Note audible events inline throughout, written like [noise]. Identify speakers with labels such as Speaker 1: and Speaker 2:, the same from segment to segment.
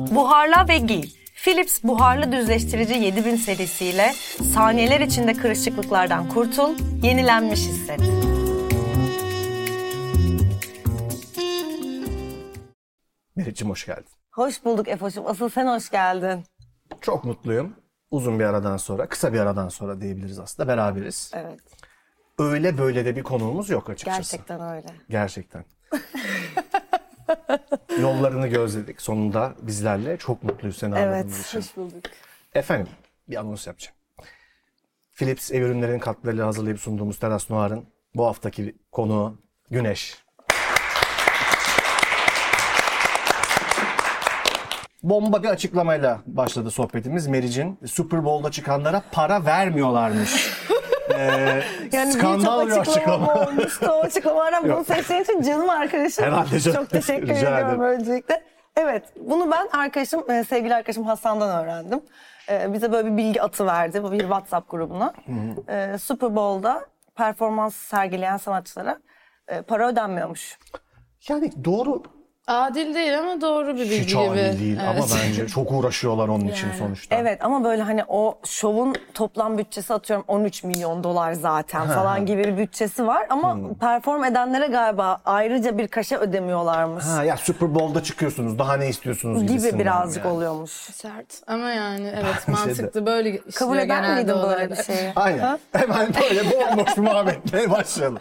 Speaker 1: Yıka ve giy. Philips buharlı düzleştirici 7000 serisiyle saniyeler içinde kırışıklıklardan kurtul, yenilenmiş hisset.
Speaker 2: Meriç'im hoş geldin.
Speaker 3: Hoş bulduk Efo'cum. Asıl sen hoş geldin.
Speaker 2: Çok mutluyum. Uzun bir aradan sonra, kısa bir aradan sonra diyebiliriz aslında beraberiz.
Speaker 3: Evet.
Speaker 2: Öyle böyle de bir konuğumuz yok açıkçası.
Speaker 3: Gerçekten öyle.
Speaker 2: Gerçekten. [laughs] Yollarını gözledik. Sonunda bizlerle çok mutluyuz seni ağırladığımız
Speaker 3: Evet.
Speaker 2: için.
Speaker 3: Hoş bulduk.
Speaker 2: Efendim bir anons yapacağım. Philips ev ürünlerinin katkılarıyla hazırlayıp sunduğumuz Teras Noir'ın bu haftaki konuğu Güneş. Bomba bir açıklamayla başladı sohbetimiz. Meriç'in Super Bowl'da çıkanlara
Speaker 3: [laughs]
Speaker 2: para vermiyorlarmış. Ee,
Speaker 3: Yani
Speaker 2: skandal bir
Speaker 3: birçok açıklama,
Speaker 2: açıklama.
Speaker 3: olmuştu. O açıklamalardan bunu
Speaker 2: Yok.
Speaker 3: seçtiğin için canım arkadaşım.
Speaker 2: Herhalde canım.
Speaker 3: Çok teşekkür
Speaker 2: Rica
Speaker 3: ediyorum
Speaker 2: ederim.
Speaker 3: öncelikle. Evet bunu ben arkadaşım, e, sevgili arkadaşım Hasan'dan öğrendim. E, Bize böyle bir bilgi atı verdi bu bir WhatsApp grubuna. E, Super Bowl'da performans sergileyen sanatçılara e, para ödenmiyormuş.
Speaker 2: Yani doğru
Speaker 4: Adil değil ama doğru bir bilgi
Speaker 2: hiç
Speaker 4: gibi.
Speaker 2: adil değil ama
Speaker 4: Evet.
Speaker 2: bence çok uğraşıyorlar onun için
Speaker 4: Yani.
Speaker 2: sonuçta.
Speaker 3: Evet ama böyle hani o şovun toplam bütçesi atıyorum 13 milyon dolar zaten falan gibi bir bütçesi var ama
Speaker 2: Hmm.
Speaker 3: perform edenlere galiba ayrıca bir kaşe ödemiyorlarmış
Speaker 2: Ha ya Super Bowl'da çıkıyorsunuz daha ne istiyorsunuz
Speaker 3: gibi
Speaker 2: gibisinden
Speaker 3: birazcık
Speaker 2: yani.
Speaker 3: oluyormuş.
Speaker 4: Sert ama yani evet
Speaker 2: [laughs] Bence de.
Speaker 4: mantıklı böyle işliyor
Speaker 3: Kabul eder
Speaker 4: genelde
Speaker 3: miydin böyle
Speaker 4: olaylar.
Speaker 3: bir şeyi?
Speaker 2: Aynen. Hemen böyle bomboş bir muhabbetle başlayalım.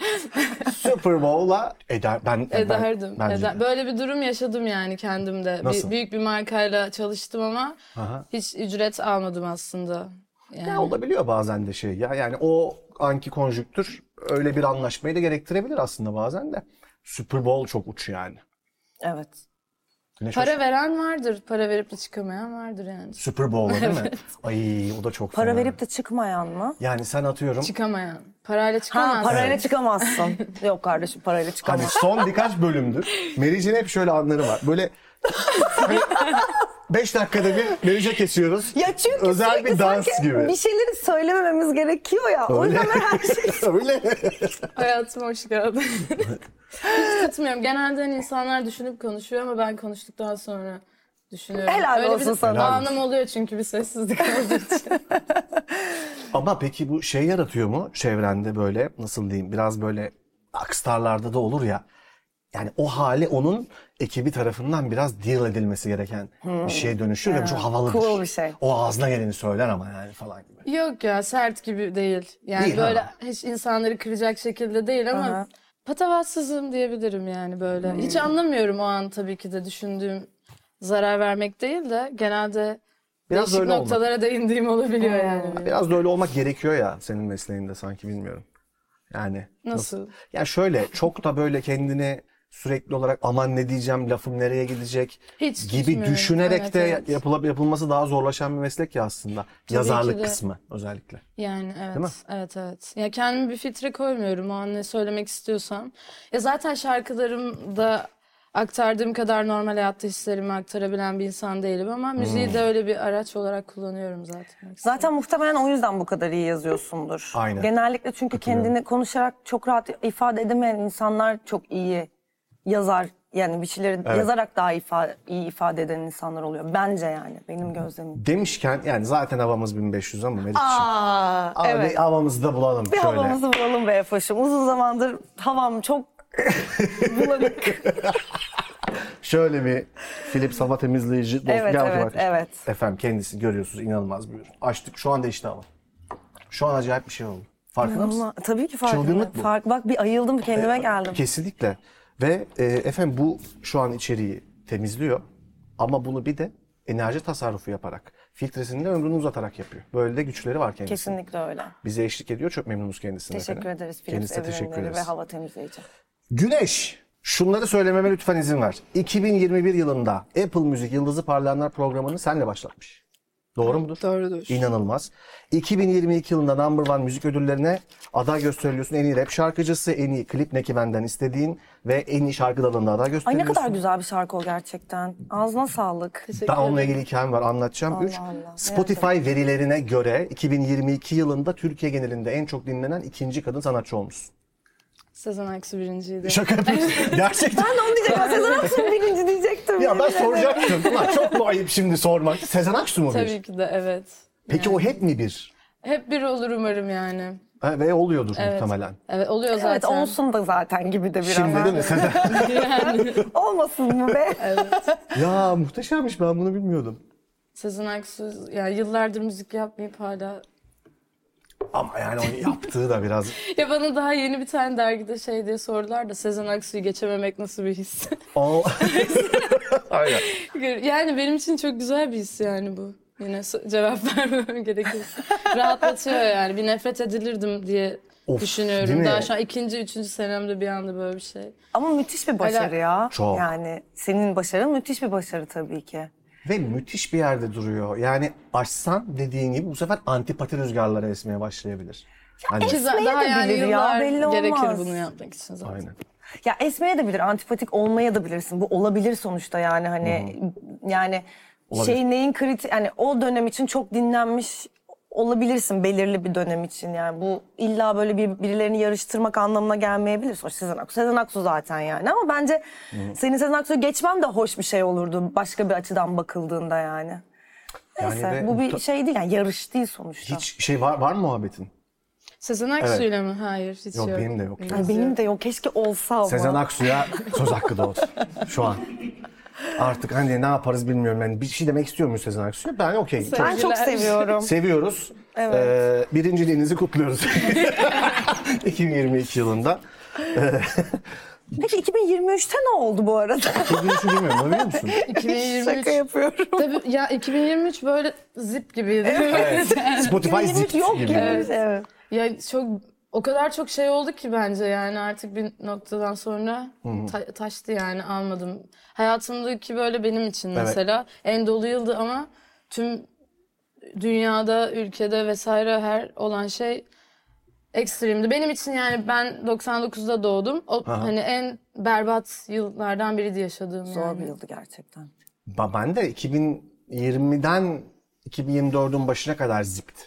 Speaker 2: Super Bowl'a eder. Ben,
Speaker 4: [laughs] Ederdim.
Speaker 2: Ben, bence
Speaker 4: eder-
Speaker 2: de.
Speaker 4: Böyle bir durum yaşadım yani kendimde. Bir-
Speaker 2: Nasıl?
Speaker 4: büyük bir markayla çalıştım ama
Speaker 2: Aha.
Speaker 4: hiç ücret almadım aslında. Yani.
Speaker 2: Ya olabiliyor bazen de şey ya. Yani o anki konjüktür öyle bir anlaşmayı da gerektirebilir aslında bazen de. Super Bowl çok uç yani.
Speaker 3: [laughs] Evet.
Speaker 2: Güneş hoş-
Speaker 4: Para veren vardır. Para verip de çıkamayan vardır yani.
Speaker 2: Super
Speaker 3: [laughs]
Speaker 2: Bowl'a değil mi? Ay o da çok
Speaker 3: Para
Speaker 2: fena.
Speaker 3: verip de çıkmayan mı?
Speaker 2: Yani sen atıyorum.
Speaker 4: Çıkamayan. Parayla çıkamaz.
Speaker 3: Ha parayla [laughs] çıkamazsın. Yok kardeşim parayla
Speaker 2: Hani
Speaker 3: çıkamazsın.
Speaker 2: son birkaç bölümdür. Meriç'in hep şöyle anları var. Böyle 5 dakikada bir Meriç'e kesiyoruz.
Speaker 3: Ya çünkü
Speaker 2: Özel
Speaker 3: sürekli
Speaker 2: bir dans
Speaker 3: sanki
Speaker 2: gibi.
Speaker 3: Bir şeyleri söylemememiz gerekiyor ya. O
Speaker 2: Öyle.
Speaker 3: yüzden ben
Speaker 2: [laughs]
Speaker 3: her şeyi
Speaker 2: Öyle.
Speaker 4: Hayatıma hoş
Speaker 2: [laughs]
Speaker 4: geldin. Hiç tutmuyorum. Genelde hani insanlar düşünüp konuşuyor ama ben konuştuktan sonra düşünüyorum.
Speaker 3: Helal olsun
Speaker 4: bir
Speaker 3: sana.
Speaker 2: Helal
Speaker 4: anım oluyor çünkü bir sessizlik olduğu için.
Speaker 2: Ama peki bu şey yaratıyor mu çevrende böyle nasıl diyeyim biraz böyle akstarlarda da olur ya. Yani o hali onun ekibi tarafından biraz deal edilmesi gereken bir şeye dönüşür ve bu çok havalıdır.
Speaker 3: Hmm. cool bir şey.
Speaker 2: O ağzına geleni söyler ama yani falan gibi.
Speaker 4: Yok ya sert gibi değil. Yani
Speaker 2: Değil,
Speaker 4: böyle
Speaker 2: ha.
Speaker 4: hiç insanları kıracak şekilde değil ama
Speaker 3: Aha.
Speaker 4: patavatsızım diyebilirim yani
Speaker 2: Hmm.
Speaker 4: böyle. Hiç anlamıyorum o an tabii ki de düşündüğüm zarar vermek değil de genelde
Speaker 2: Biraz
Speaker 4: değişik
Speaker 2: öyle olmak.
Speaker 4: noktalara değindiğim olabiliyor yani.
Speaker 2: Biraz da öyle olmak gerekiyor ya senin mesleğinde sanki bilmiyorum. Yani
Speaker 4: Nasıl?
Speaker 2: Ya şöyle çok da böyle kendini sürekli olarak aman ne diyeceğim lafım nereye gidecek
Speaker 4: Hiç
Speaker 2: gibi
Speaker 4: tutmuyorum.
Speaker 2: düşünerek
Speaker 4: Evet,
Speaker 2: de
Speaker 4: evet.
Speaker 2: yapılıp yapılması daha zorlaşan bir meslek ya aslında. Yazarlık
Speaker 4: ki de.
Speaker 2: kısmı özellikle.
Speaker 4: Yani evet,
Speaker 2: mi?
Speaker 4: evet, evet. Ya kendime bir filtre koymuyorum o an ne söylemek istiyorsam. Ya zaten şarkılarımda aktardığım kadar normal hayatta hislerimi aktarabilen bir insan değilim ama
Speaker 2: Hmm.
Speaker 4: müziği de öyle bir araç olarak kullanıyorum zaten.
Speaker 3: Zaten muhtemelen o yüzden bu kadar iyi yazıyorsundur.
Speaker 2: Aynen.
Speaker 3: Genellikle çünkü kendini konuşarak çok rahat ifade edemeyen insanlar çok iyi yazar. Yani bir şeyleri
Speaker 2: Evet.
Speaker 3: yazarak daha ifa- iyi ifade eden insanlar oluyor. Bence yani benim gözlemim.
Speaker 2: Demişken yani zaten havamız 1500 ama Meriç'im.
Speaker 3: Aa,
Speaker 2: Abi
Speaker 3: evet.
Speaker 2: havamızı da bulalım
Speaker 3: Bir
Speaker 2: şöyle.
Speaker 3: havamızı vuralım be Efoş'um. Uzun zamandır havam çok bulanık.
Speaker 2: Şöyle bir Philips hava temizleyici dost
Speaker 3: Evet,
Speaker 2: geldi
Speaker 3: evet,
Speaker 2: arkadaşlar.
Speaker 3: evet.
Speaker 2: Efendim kendisi görüyorsunuz inanılmaz bir ürün. Açtık şu anda işte hava. Şu an acayip bir şey oldu. Farkında mısın?
Speaker 3: Ama tabii ki farkında.
Speaker 2: Çılgınlık bu.
Speaker 3: Fark, bak bir ayıldım kendime geldim.
Speaker 2: Kesinlikle. Ve e, efendim bu şu an içeriği temizliyor ama bunu bir de enerji tasarrufu yaparak, filtresini de ömrünü uzatarak yapıyor. Böyle de güçleri var kendisinin.
Speaker 3: Kesinlikle öyle.
Speaker 2: Bize eşlik ediyor. Çok memnunuz kendisine.
Speaker 3: Teşekkür
Speaker 2: efendim.
Speaker 3: ederiz Philips
Speaker 2: Kendisine
Speaker 3: ev
Speaker 2: teşekkür
Speaker 3: ürünleri
Speaker 2: ederiz.
Speaker 3: ve hava temizleyici.
Speaker 2: Güneş, şunları söylememe lütfen izin ver. 2021 yılında Apple Müzik Yıldızı Parlayanlar programını senle başlatmış. Doğru mudur?
Speaker 4: Doğrudur.
Speaker 2: İnanılmaz. 2022 yılında Number One müzik ödüllerine aday gösteriliyorsun. En iyi rap şarkıcısı, en iyi klip ne ki benden istediğin ve en iyi şarkı dalında aday
Speaker 3: Ay ne
Speaker 2: gösteriliyorsun.
Speaker 3: kadar güzel bir şarkı o gerçekten. Ağzına sağlık.
Speaker 4: Teşekkür
Speaker 2: Daha
Speaker 4: ederim.
Speaker 2: onunla ilgili hikayem var anlatacağım.
Speaker 3: Allah
Speaker 2: Üç,
Speaker 3: Allah,
Speaker 2: Spotify verilerine göre 2022 yılında Türkiye genelinde en çok dinlenen ikinci kadın sanatçı olmuşsun.
Speaker 4: Sezen Aksu birinciydi.
Speaker 2: Şaka yapıyorsun. [laughs] Gerçekten.
Speaker 3: Ben de onu diyecektim. Sezen Aksu'nun birinci diyecektim.
Speaker 2: ya ben
Speaker 3: Yemin ederim.
Speaker 2: soracaktım. Ulan çok mu ayıp şimdi sormak? Sezen Aksu mu bir?
Speaker 4: Tabii ki de evet.
Speaker 2: Peki o hep mi bir?
Speaker 4: Hep bir olur umarım yani.
Speaker 2: Ha, ve oluyordur muhtemelen.
Speaker 4: Evet oluyor zaten.
Speaker 3: Evet olsun da zaten gibi de biraz.
Speaker 2: Şimdi değil mi Sezen?
Speaker 4: Yani.
Speaker 3: Olmasın mı
Speaker 4: [laughs]
Speaker 3: be?
Speaker 2: ya muhteşemmiş ben bunu bilmiyordum.
Speaker 4: Sezen Aksu yani yıllardır müzik yapmayıp hala
Speaker 2: Ama yani onu yaptığı da biraz
Speaker 4: ya bana daha yeni bir tane dergide şey diye sordular da Sezen Aksu'yu geçememek nasıl bir his? [laughs]
Speaker 2: O- Aynen.
Speaker 4: yani benim için çok güzel bir his yani bu. Yine so- cevap [laughs] vermem gerekir. Rahatlatıyor yani. Bir nefret edilirdim diye
Speaker 2: Of, değil mi?
Speaker 4: düşünüyorum. Daha şu an ikinci, üçüncü senemde bir anda böyle bir şey.
Speaker 3: Ama müthiş bir başarı
Speaker 4: Hala-
Speaker 3: ya.
Speaker 2: Çok.
Speaker 3: Yani senin başarın müthiş bir başarı tabii ki.
Speaker 2: Ve müthiş bir yerde duruyor. Yani açsan dediğin gibi bu sefer antipati rüzgarları esmeye başlayabilir. Hani
Speaker 4: Ki za-
Speaker 3: Esmeye
Speaker 4: daha
Speaker 3: de
Speaker 4: yani
Speaker 3: bilir ya,
Speaker 4: yıllar
Speaker 3: belli olmaz.
Speaker 4: gerekir bunu yapmak için zaten.
Speaker 2: aynen.
Speaker 3: Ya esmeye de bilir, antipatik olmaya da bilirsin. Bu olabilir sonuçta yani hani yani
Speaker 2: Olabilir.
Speaker 3: şey neyin kriti yani o dönem için çok dinlenmiş olabilirsin belirli bir dönem için yani bu illa böyle bir, birilerini yarıştırmak anlamına gelmeyebilir. Sonuçta Sezen Aksu, Sezen Aksu zaten yani ama bence senin Sezen Aksu'yu geçmen de hoş bir şey olurdu başka bir açıdan bakıldığında yani.
Speaker 2: Yani
Speaker 3: Neyse
Speaker 2: ve
Speaker 3: bu bir
Speaker 2: muhta-
Speaker 3: şey değil yani yarış değil sonuçta.
Speaker 2: Hiç şey var, var mı muhabbetin?
Speaker 4: Sezen Aksu'yla mı? Hayır hiç
Speaker 2: Yok,
Speaker 4: yok.
Speaker 2: benim de yok ya.
Speaker 3: Ay benim de [laughs] yok keşke olsa ama.
Speaker 2: Sezen Aksu'ya söz hakkı doğdu şu an. Artık hani ne yaparız bilmiyorum. Yani bir şey demek istiyor muyuz Sezen Aksu'ya? Ben okey. Çok
Speaker 3: ben çok
Speaker 4: Sevgiler.
Speaker 3: seviyorum.
Speaker 2: seviyoruz. Ee, birinciliğinizi kutluyoruz. [laughs] 2022 yılında.
Speaker 3: Peki 2023'te ne oldu bu arada?
Speaker 2: Birincisi bilmiyorum. Bunu biliyor musun?
Speaker 4: 2023.
Speaker 3: Şaka [laughs] yapıyorum.
Speaker 4: Tabii ya 2023 böyle zip gibiydi. [laughs]
Speaker 3: [laughs]
Speaker 2: Spotify
Speaker 3: 2023
Speaker 2: zip
Speaker 3: yok
Speaker 2: gibi.
Speaker 3: gibi. Evet.
Speaker 4: Ya çok o kadar çok şey oldu ki bence yani artık bir noktadan sonra ta- taştı yani almadım. Hayatımdaki böyle benim için
Speaker 2: Evet.
Speaker 4: mesela en dolu yıldı ama tüm dünyada, ülkede vesaire her olan şey ekstremdi. Benim için yani ben 99'da doğdum. O,
Speaker 2: Aha.
Speaker 4: hani en berbat yıllardan biriydi yaşadığım yani.
Speaker 3: Zor bir yıldı gerçekten.
Speaker 2: Ba- Ben de 2020'den 2024'ün başına kadar zipt.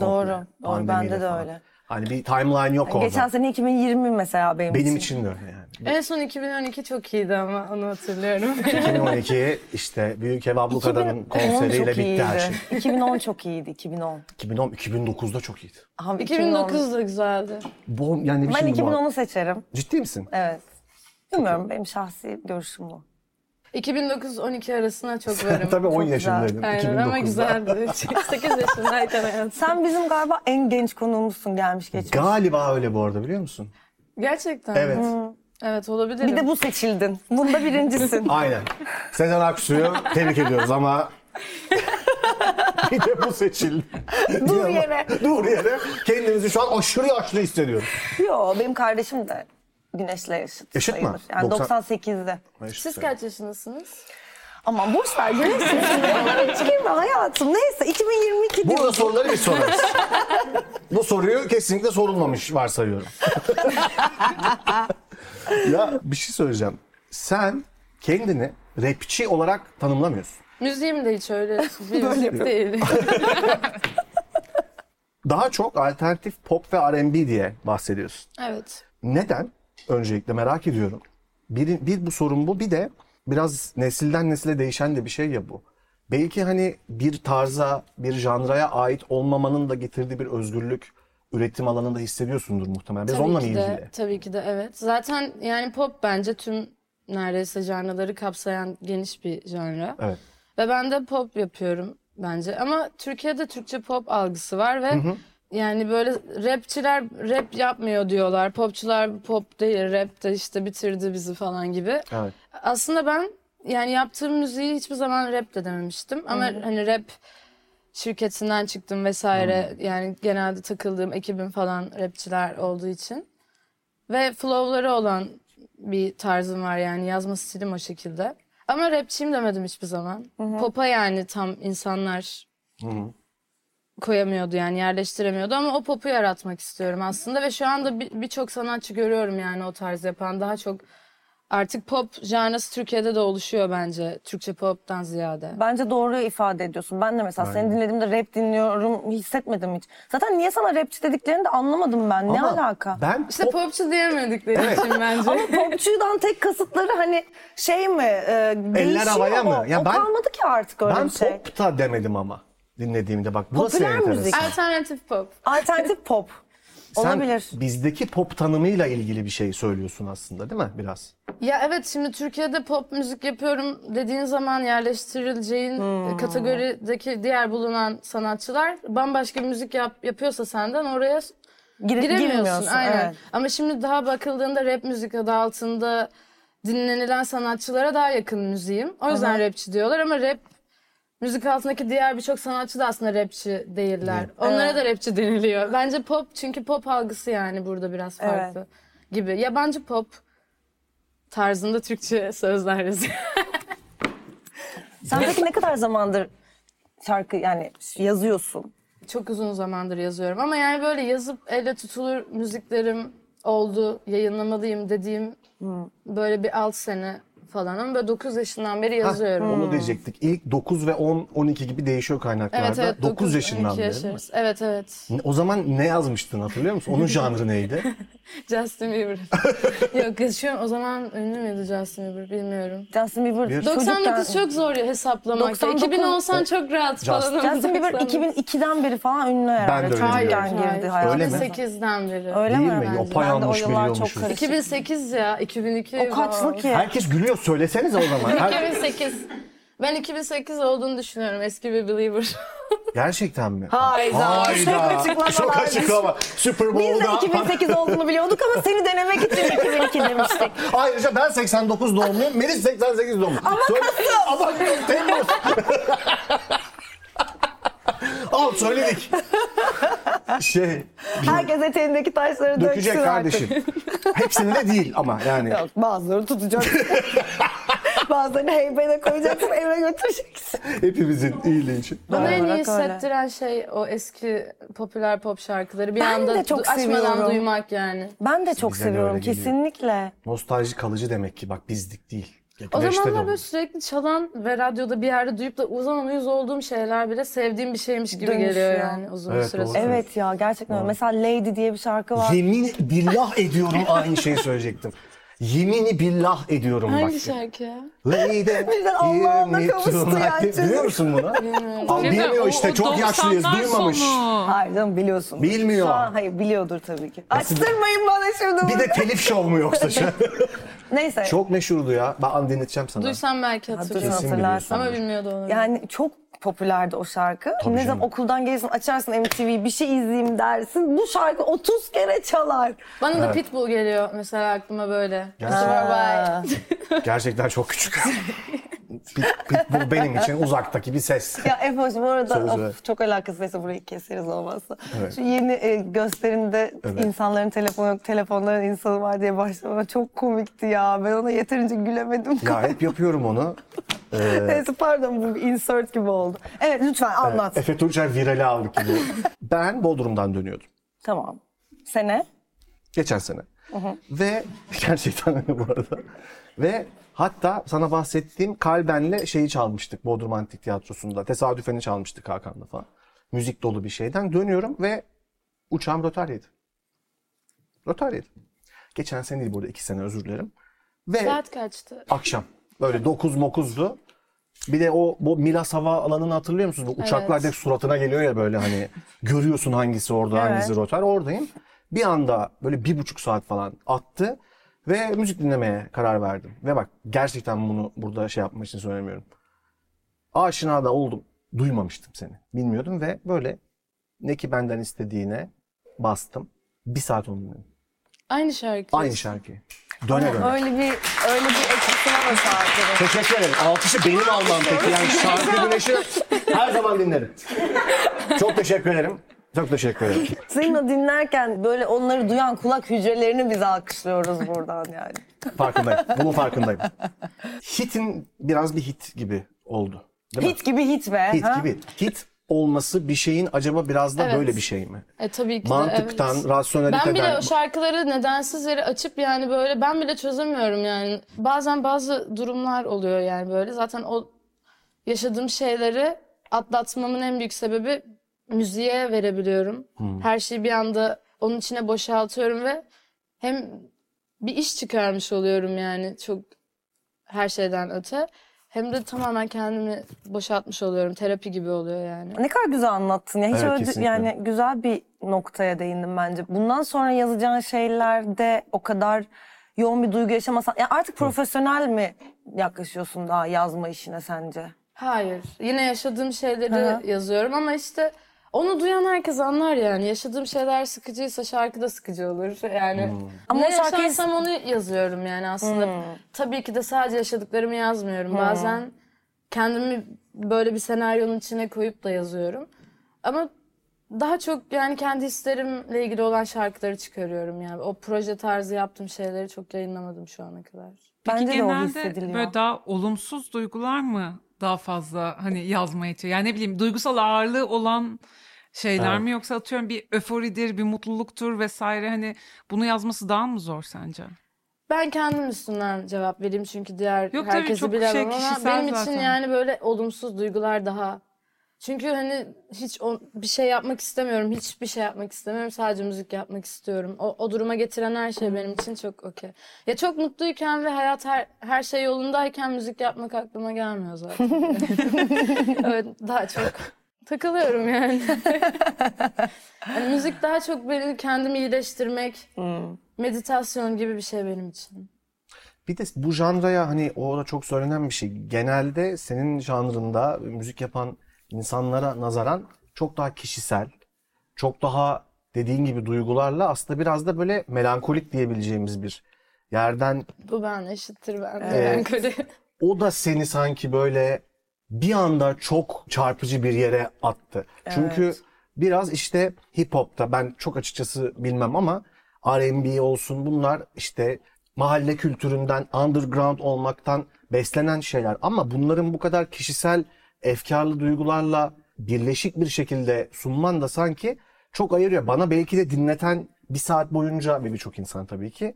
Speaker 3: Doğru, doğru.
Speaker 2: Pandemiyle
Speaker 3: Bende de
Speaker 2: falan.
Speaker 3: öyle.
Speaker 2: Hani bir timeline yok orada.
Speaker 3: Geçen sene 2020 mesela benim,
Speaker 2: Benim için de öyle yani.
Speaker 4: En son 2012 çok iyiydi ama
Speaker 3: [laughs]
Speaker 4: onu hatırlıyorum. [laughs]
Speaker 2: 2012 işte Büyük Ev Abluka'nın
Speaker 3: 2010 çok
Speaker 2: konseriyle bitti her şey.
Speaker 3: iyiydi. [laughs] 2010 çok iyiydi, 2010.
Speaker 2: 2010, 2009'da çok iyiydi.
Speaker 3: Abi,
Speaker 4: 2009 da güzeldi.
Speaker 2: Bom, yani
Speaker 3: Ben
Speaker 2: şimdi bu-
Speaker 3: 2010'u seçerim,
Speaker 2: Ciddi
Speaker 3: [laughs]
Speaker 2: misin?
Speaker 3: evet. Bilmiyorum, benim şahsi görüşüm bu.
Speaker 4: 2009-12
Speaker 2: [laughs]
Speaker 4: arasına çok varım.
Speaker 2: Tabii 10
Speaker 3: güzel.
Speaker 2: yaşındaydın.
Speaker 4: Aynen
Speaker 2: 2009'da.
Speaker 4: ama güzeldi.
Speaker 2: [laughs]
Speaker 4: 8 yaşındayken hayatım.
Speaker 3: Sen bizim galiba en genç konuğumuzsun gelmiş geçmiş.
Speaker 2: Galiba öyle bu arada biliyor musun?
Speaker 4: Gerçekten.
Speaker 2: Evet.
Speaker 3: Hmm.
Speaker 4: Evet olabilirim.
Speaker 3: Bir de bu seçildin, bunda
Speaker 2: [laughs]
Speaker 3: birincisin.
Speaker 2: Aynen. Sezen Aksu'yu tebrik ediyoruz ama [laughs] bir de bu seçildi.
Speaker 3: Dur yere.
Speaker 2: Dur yere. Kendimizi şu an aşırı yaşlı hissediyoruz.
Speaker 3: Yo, benim kardeşim de Güneş'le yaşıt.
Speaker 2: Yaşıt mı?
Speaker 3: sayılır. Yani
Speaker 2: 90
Speaker 3: 98'de.
Speaker 4: Siz kaç yaşındasınız?
Speaker 3: Aman boş ver güneş
Speaker 4: [laughs]
Speaker 3: şimdi. Hiç girme hayatım. Neyse 2022
Speaker 2: Burada
Speaker 3: diyoruz.
Speaker 2: soruları biz sorarız. [laughs] bu soruyu kesinlikle sorulmamış varsayıyorum. [laughs] ya bir şey söyleyeceğim. Sen kendini rapçi olarak tanımlamıyorsun.
Speaker 4: Müziğim de hiç öyle
Speaker 3: [laughs]
Speaker 4: bir müzik değil.
Speaker 2: Daha çok alternatif pop ve R&B diye bahsediyorsun.
Speaker 4: evet.
Speaker 2: Neden? Öncelikle merak ediyorum. Bir, bir bu sorun bu bir de biraz nesilden nesile değişen de bir şey ya bu. Belki hani bir tarza, bir janraya ait olmamanın da getirdiği bir özgürlük üretim alanında hissediyorsundur muhtemelen. Biraz onunla mı
Speaker 4: ki de,
Speaker 2: ilgili?
Speaker 4: tabii ki de evet. Zaten yani pop bence tüm neredeyse janraları kapsayan geniş bir janra.
Speaker 2: Evet.
Speaker 4: Ve ben de pop yapıyorum bence. Ama Türkiye'de Türkçe pop algısı var ve yani böyle rapçiler rap yapmıyor diyorlar. Popçular pop değil, rap de işte bitirdi bizi falan gibi.
Speaker 2: Evet.
Speaker 4: Aslında ben yani yaptığım müziği hiçbir zaman rap de dememiştim. Ama hani rap şirketinden çıktım vesaire. Yani genelde takıldığım ekibim falan rapçiler olduğu için. Ve flowları olan bir tarzım var yani yazma stilim o şekilde. Ama rapçiyim demedim hiçbir zaman. Pop'a yani tam insanlar koyamıyordu yani yerleştiremiyordu ama o popu yaratmak istiyorum aslında ve şu anda bir- birçok sanatçı görüyorum yani o tarz yapan daha çok Artık pop janrası Türkiye'de de oluşuyor bence. Türkçe pop'tan ziyade.
Speaker 3: Bence doğruyu ifade ediyorsun. Ben de mesela seni dinlediğimde rap dinliyorum hissetmedim hiç. Zaten niye sana rapçi dediklerini de anlamadım ben. ne
Speaker 2: Ama
Speaker 3: alaka?
Speaker 2: Ben
Speaker 4: İşte
Speaker 2: o-
Speaker 4: popçu diyemedikleri için bence.
Speaker 3: Ama popçudan tek kasıtları hani şey mi? E, değişiyor
Speaker 2: havaya
Speaker 3: o.
Speaker 2: mı? Ya
Speaker 3: o
Speaker 2: ben-
Speaker 3: kalmadı ki artık öyle
Speaker 2: ben
Speaker 3: bir şey.
Speaker 2: pop da demedim ama dinlediğimde bak burası
Speaker 3: Popüler
Speaker 2: enteresan.
Speaker 3: müzik.
Speaker 4: Alternatif pop.
Speaker 3: Alternatif pop.
Speaker 2: Sen
Speaker 3: Olabilir.
Speaker 2: bizdeki pop tanımıyla ilgili bir şey söylüyorsun aslında değil mi biraz?
Speaker 4: Ya evet şimdi Türkiye'de pop müzik yapıyorum dediğin zaman yerleştirileceğin e, kategorideki diğer bulunan sanatçılar bambaşka bir müzik yap, yapıyorsa senden oraya s-
Speaker 3: Gire-
Speaker 4: giremiyorsun.
Speaker 3: girmiyorsun,
Speaker 4: Aynen.
Speaker 3: evet.
Speaker 4: Ama şimdi daha bakıldığında rap müzik adı altında dinlenilen sanatçılara daha yakın müziğim. O yüzden rapçi diyorlar ama rap müzik altındaki diğer birçok sanatçı da aslında rapçi değiller. Onlara da rapçi deniliyor. Bence pop çünkü pop algısı yani burada biraz
Speaker 3: Evet.
Speaker 4: farklı gibi. Yabancı pop tarzında Türkçe sözler yazıyor.
Speaker 3: Sen peki ne kadar zamandır şarkı yani yazıyorsun?
Speaker 4: Çok uzun zamandır yazıyorum ama yani böyle yazıp elle tutulur müziklerim oldu, yayınlamalıyım dediğim böyle bir alt sene falan ama böyle 9 yaşından beri
Speaker 2: Heh,
Speaker 4: yazıyorum.
Speaker 2: Onu diyecektik. İlk 9 ve 10, 12 gibi değişiyor kaynaklarda.
Speaker 4: Evet evet
Speaker 2: 9,
Speaker 4: 9
Speaker 2: yaşından
Speaker 4: 12
Speaker 2: beri. değil mi?
Speaker 4: yaşarız. Evet evet. [laughs]
Speaker 2: O zaman ne yazmıştın hatırlıyor musun? Onun
Speaker 3: [laughs]
Speaker 2: janrı neydi?
Speaker 4: Justin Bieber. Yok yaşıyorum. O zaman ünlü müydü Justin Bieber bilmiyorum.
Speaker 3: Justin Bieber
Speaker 2: Bir-
Speaker 3: çocukken-
Speaker 4: 99 çok zor hesaplamak.
Speaker 3: 99
Speaker 4: 2000 olsan çok rahat falan. ama
Speaker 3: Justin Bieber
Speaker 4: 99.
Speaker 3: 2002'den beri falan ünlü herhalde.
Speaker 2: öyle
Speaker 4: Hayır,
Speaker 3: Çocukken
Speaker 2: biliyorum.
Speaker 3: girdi
Speaker 4: hayır.
Speaker 3: hayatımıza.
Speaker 2: Öyle mi?
Speaker 4: 2008'den beri.
Speaker 3: Öyle
Speaker 2: Değil
Speaker 3: mi?
Speaker 2: mi?
Speaker 3: Ben de
Speaker 2: Yapan yanlış
Speaker 3: o yıllar
Speaker 2: biliyormuşuz.
Speaker 3: çok karışık.
Speaker 4: 2008 ya, 2002.
Speaker 3: O kaçlı
Speaker 4: wow.
Speaker 3: ki?
Speaker 2: Herkes gülüyor. Söylesenize o zaman. Her-
Speaker 4: 2008. Ben 2008 olduğunu düşünüyorum. Eski bir believer.
Speaker 2: Gerçekten mi?
Speaker 3: Hayda. Çok açıklamalar.
Speaker 2: Çok açıklama. Super
Speaker 3: Biz de
Speaker 2: Bowl'da. [laughs]
Speaker 3: 2008 olduğunu biliyorduk ama seni denemek için 2002
Speaker 2: [laughs]
Speaker 3: demiştik.
Speaker 2: Ayrıca ben 89 doğumluyum. Melis 88 doğumlu. Ama Söyle... Ama
Speaker 3: [laughs]
Speaker 2: Temmuz. Al söyledik. Şey,
Speaker 3: Herkes eteğindeki taşları döksün
Speaker 2: dökecek kardeşim. Hepsinde değil ama yani.
Speaker 3: Artık. Yok bazıları
Speaker 2: [laughs]
Speaker 3: tutacak. bazılarını heybene koyacaksın eve götüreceksin.
Speaker 2: Hepimizin iyiliği için.
Speaker 4: Bana en iyi
Speaker 3: olarak öyle.
Speaker 4: hissettiren şey o eski popüler pop şarkıları. Bir
Speaker 3: Ben
Speaker 4: anda
Speaker 3: de çok
Speaker 4: du- açmadan
Speaker 3: seviyorum.
Speaker 4: duymak yani.
Speaker 3: Ben de çok
Speaker 2: Bize de öyle
Speaker 3: seviyorum
Speaker 2: geliyor.
Speaker 3: kesinlikle.
Speaker 2: Nostalji kalıcı demek ki bak bizlik değil. Ya
Speaker 4: O
Speaker 2: güneşte de
Speaker 4: zamanlar böyle
Speaker 2: olur.
Speaker 4: sürekli çalan ve radyoda bir yerde duyup da uzan uyuz olduğum şeyler bile sevdiğim bir şeymiş gibi
Speaker 3: Dönüşüyor.
Speaker 4: geliyor yani uzun bir
Speaker 2: Evet,
Speaker 4: süre
Speaker 2: doğru.
Speaker 4: sonra.
Speaker 3: Evet ya gerçekten öyle. Mesela Lady diye bir şarkı var.
Speaker 2: Yemin billah ediyorum aynı şeyi söyleyecektim. Yemini billah ediyorum
Speaker 4: Hangi
Speaker 2: bak.
Speaker 4: şarkı ya?
Speaker 2: Lady,
Speaker 4: [laughs]
Speaker 3: Birden Allah'ına
Speaker 2: hear me
Speaker 3: kavuştu ya
Speaker 2: tonight.
Speaker 3: çocuk.
Speaker 2: Biliyor musun bunu? Aa,
Speaker 4: Şey,
Speaker 2: Bilmiyor işte çok yaşlıyız duymamış.
Speaker 3: Hayır canım biliyorsun.
Speaker 2: Bilmiyor.
Speaker 3: Şu an hayır biliyordur tabii ki. Açtırmayın bana şimdi bunu.
Speaker 2: Bir de telif şov mu yoksa? şu an?
Speaker 4: [laughs]
Speaker 3: Neyse.
Speaker 2: çok meşhurdu ya. Ben dinleteceğim sana.
Speaker 4: Duysam belki hatırlıyorum.
Speaker 3: Kesin
Speaker 2: biliyorsun.
Speaker 4: Ama bilmiyordu onu.
Speaker 3: Yani çok popülerdi o şarkı.
Speaker 2: Tabii
Speaker 3: ne
Speaker 2: canım.
Speaker 3: zaman okuldan gelirsin açarsın MTV'yi bir şey izleyeyim dersin. Bu şarkı 30 kere çalar.
Speaker 4: Bana da Pitbull geliyor mesela aklıma böyle.
Speaker 2: Gerçekten.
Speaker 4: Bye.
Speaker 2: Gerçekten çok küçük. Pit- Pitbull benim için uzaktaki bir ses.
Speaker 3: Ya Efe'cim bu arada
Speaker 2: Söyle,
Speaker 3: of,
Speaker 2: söyle.
Speaker 3: çok alakasıysa burayı keseriz olmazsa.
Speaker 2: Evet.
Speaker 3: Şu yeni e, gösterimde
Speaker 2: Evet.
Speaker 3: insanların telefonu, telefonların insanı var diye başlama çok komikti ya. Ben ona yeterince gülemedim.
Speaker 2: Ya hep yapıyorum onu.
Speaker 3: [laughs]
Speaker 2: Ee,
Speaker 3: Neyse pardon bu bir insert gibi oldu. Evet lütfen anlat.
Speaker 2: Efe Tunçer virali aldık gibi. ben Bodrum'dan dönüyordum.
Speaker 3: Tamam. Sene?
Speaker 2: Geçen sene. Ve [laughs] gerçekten öyle bu arada. Ve hatta sana bahsettiğim Kalben'le şeyi çalmıştık Bodrum Antik Tiyatrosu'nda. Tesadüfeni çalmıştık Hakan'la falan. Müzik dolu bir şeyden dönüyorum ve uçağım rötar yedi. Rötar yedi. Geçen sene değil burada iki sene özür dilerim. Ve
Speaker 4: Saat kaçtı?
Speaker 2: akşam böyle 9 mokuzdu. Bir de o bu Milas hava alanını hatırlıyor musunuz? Bu uçaklar
Speaker 4: Evet.
Speaker 2: hep suratına geliyor ya böyle hani görüyorsun hangisi orada hangisi rotar oradayım. Bir anda böyle bir buçuk saat falan attı ve müzik dinlemeye karar verdim. Ve bak gerçekten bunu burada şey yapmak için söylemiyorum. Aşina da oldum. Duymamıştım seni. Bilmiyordum ve böyle ne ki benden istediğine bastım. Bir saat onu dinledim.
Speaker 4: Aynı şarkı.
Speaker 2: Aynı şarkıyı. Döne döne.
Speaker 3: Öyle bir öyle bir etkisi var o şarkının.
Speaker 2: Teşekkür ederim. Alkışı benim almam peki. Yani şarkı güneşi her zaman dinlerim. Çok teşekkür ederim. Çok teşekkür ederim.
Speaker 3: Zeyno dinlerken böyle onları duyan kulak hücrelerini biz alkışlıyoruz buradan yani.
Speaker 2: Farkındayım. Bunun farkındayım. Hitin biraz bir hit gibi oldu. Değil mi?
Speaker 3: Hit gibi hit be.
Speaker 2: Hit
Speaker 3: ha?
Speaker 2: gibi. Hit olması bir şeyin acaba biraz da
Speaker 4: Evet.
Speaker 2: böyle bir şey mi?
Speaker 4: E tabii ki de,
Speaker 2: Mantıktan,
Speaker 4: evet.
Speaker 2: rasyoneliteden.
Speaker 4: Ben bile o şarkıları nedensiz yere açıp yani böyle ben bile çözemiyorum yani. Bazen bazı durumlar oluyor yani böyle. Zaten o yaşadığım şeyleri atlatmamın en büyük sebebi müziğe verebiliyorum. Her şeyi bir anda onun içine boşaltıyorum ve hem bir iş çıkarmış oluyorum yani çok her şeyden öte. Hem de tamamen kendimi boşaltmış oluyorum. Terapi gibi oluyor yani.
Speaker 3: Ne kadar güzel anlattın ya. Hiç
Speaker 2: Evet,
Speaker 3: öyle
Speaker 2: kesinlikle.
Speaker 3: yani güzel bir noktaya değindim bence. Bundan sonra yazacağın şeylerde o kadar yoğun bir duygu yaşamasan ya artık profesyonel mi yaklaşıyorsun daha yazma işine sence?
Speaker 4: Hayır. Yine yaşadığım şeyleri
Speaker 3: Aha.
Speaker 4: yazıyorum ama işte onu duyan herkes anlar yani. Yaşadığım şeyler sıkıcıysa şarkı da sıkıcı olur. Yani
Speaker 3: Ama
Speaker 4: ama
Speaker 3: o
Speaker 4: ne
Speaker 3: şarkıyı- Hmm.
Speaker 4: yaşarsam onu yazıyorum yani aslında. Tabii ki de sadece yaşadıklarımı yazmıyorum. Bazen kendimi böyle bir senaryonun içine koyup da yazıyorum. Ama daha çok yani kendi hislerimle ilgili olan şarkıları çıkarıyorum yani. O proje tarzı yaptığım şeyleri çok yayınlamadım şu ana kadar.
Speaker 5: Peki
Speaker 3: Bence de o
Speaker 5: genelde
Speaker 3: hissediliyor.
Speaker 5: böyle daha olumsuz duygular mı daha fazla hani yazmaya itiyor? Yani ne bileyim duygusal ağırlığı olan şeyler
Speaker 2: Evet.
Speaker 5: mi yoksa atıyorum bir öforidir, bir mutluluktur vesaire hani bunu yazması daha mı zor sence?
Speaker 4: Ben kendim üstünden cevap vereyim çünkü diğer
Speaker 5: tabii,
Speaker 4: herkesi
Speaker 5: çok
Speaker 4: bilemem
Speaker 5: şey
Speaker 4: ama
Speaker 5: kişisel
Speaker 4: benim için
Speaker 5: zaten.
Speaker 4: yani böyle olumsuz duygular daha. Çünkü hani hiç o- bir şey yapmak istemiyorum, hiçbir şey yapmak istemiyorum. Sadece müzik yapmak istiyorum. O, o duruma getiren her şey benim için çok okey. Ya çok mutluyken ve hayat her, her şey yolundayken müzik yapmak aklıma gelmiyor zaten.
Speaker 5: [laughs]
Speaker 4: evet daha çok takılıyorum
Speaker 5: [laughs]
Speaker 4: yani. yani müzik daha çok beni kendimi iyileştirmek, meditasyon gibi bir şey benim için.
Speaker 2: Bir de bu janraya hani orada çok söylenen bir şey. Genelde senin janrında müzik yapan insanlara nazaran çok daha kişisel, çok daha dediğin gibi duygularla aslında biraz da böyle melankolik diyebileceğimiz bir yerden.
Speaker 4: Bu ben eşittir ben de
Speaker 2: Evet.
Speaker 4: melankoli.
Speaker 2: O da seni sanki böyle bir anda çok çarpıcı bir yere attı. Çünkü biraz işte hip hop'ta ben çok açıkçası bilmem ama R&B olsun bunlar işte mahalle kültüründen, underground olmaktan beslenen şeyler. Ama bunların bu kadar kişisel, efkarlı duygularla birleşik bir şekilde sunman da sanki çok ayırıyor. Bana belki de dinleten bir saat boyunca ve birçok insan tabii ki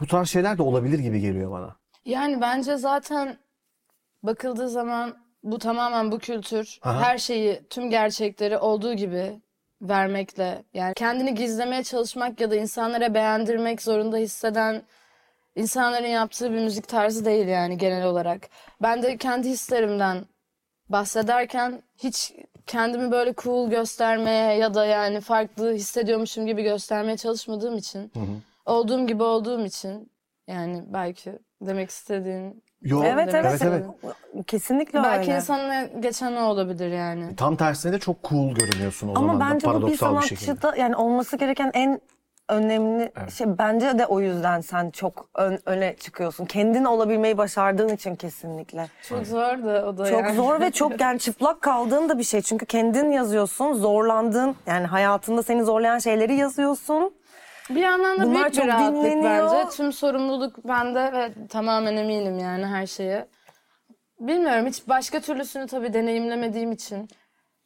Speaker 2: bu tarz şeyler de olabilir gibi geliyor bana.
Speaker 4: Yani bence zaten bakıldığı zaman bu tamamen bu kültür.
Speaker 2: Aha.
Speaker 4: Her şeyi, tüm gerçekleri olduğu gibi vermekle yani kendini gizlemeye çalışmak ya da insanlara beğendirmek zorunda hisseden insanların yaptığı bir müzik tarzı değil yani genel olarak. Ben de kendi hislerimden bahsederken hiç kendimi böyle cool göstermeye ya da yani farklı hissediyormuşum gibi göstermeye çalışmadığım için, olduğum gibi olduğum için yani belki demek istediğin
Speaker 2: Yo,
Speaker 3: Evet evet.
Speaker 2: evet, evet.
Speaker 3: Kesinlikle
Speaker 4: belki
Speaker 3: öyle.
Speaker 4: insanla geçen o olabilir yani.
Speaker 2: Tam tersine de çok cool görünüyorsun o
Speaker 3: Ama
Speaker 2: zaman da
Speaker 3: bence bu bir
Speaker 2: paradoksal bir şekilde.
Speaker 3: sanatçıda yani olması gereken en önemli şey bence de o yüzden sen çok ön- öne çıkıyorsun. Kendin olabilmeyi başardığın için kesinlikle.
Speaker 4: Çok zor da o da
Speaker 3: Çok
Speaker 4: yani.
Speaker 3: zor ve çok yani çıplak kaldığın da bir şey. Çünkü kendin yazıyorsun, zorlandığın yani hayatında seni zorlayan şeyleri yazıyorsun.
Speaker 4: Bir yandan da
Speaker 3: Bunlar
Speaker 4: büyük
Speaker 3: çok
Speaker 4: bir rahatlık
Speaker 3: dinleniyor.
Speaker 4: bence. Tüm sorumluluk bende ve tamamen eminim yani her şeye. Bilmiyorum hiç başka türlüsünü tabii deneyimlemediğim için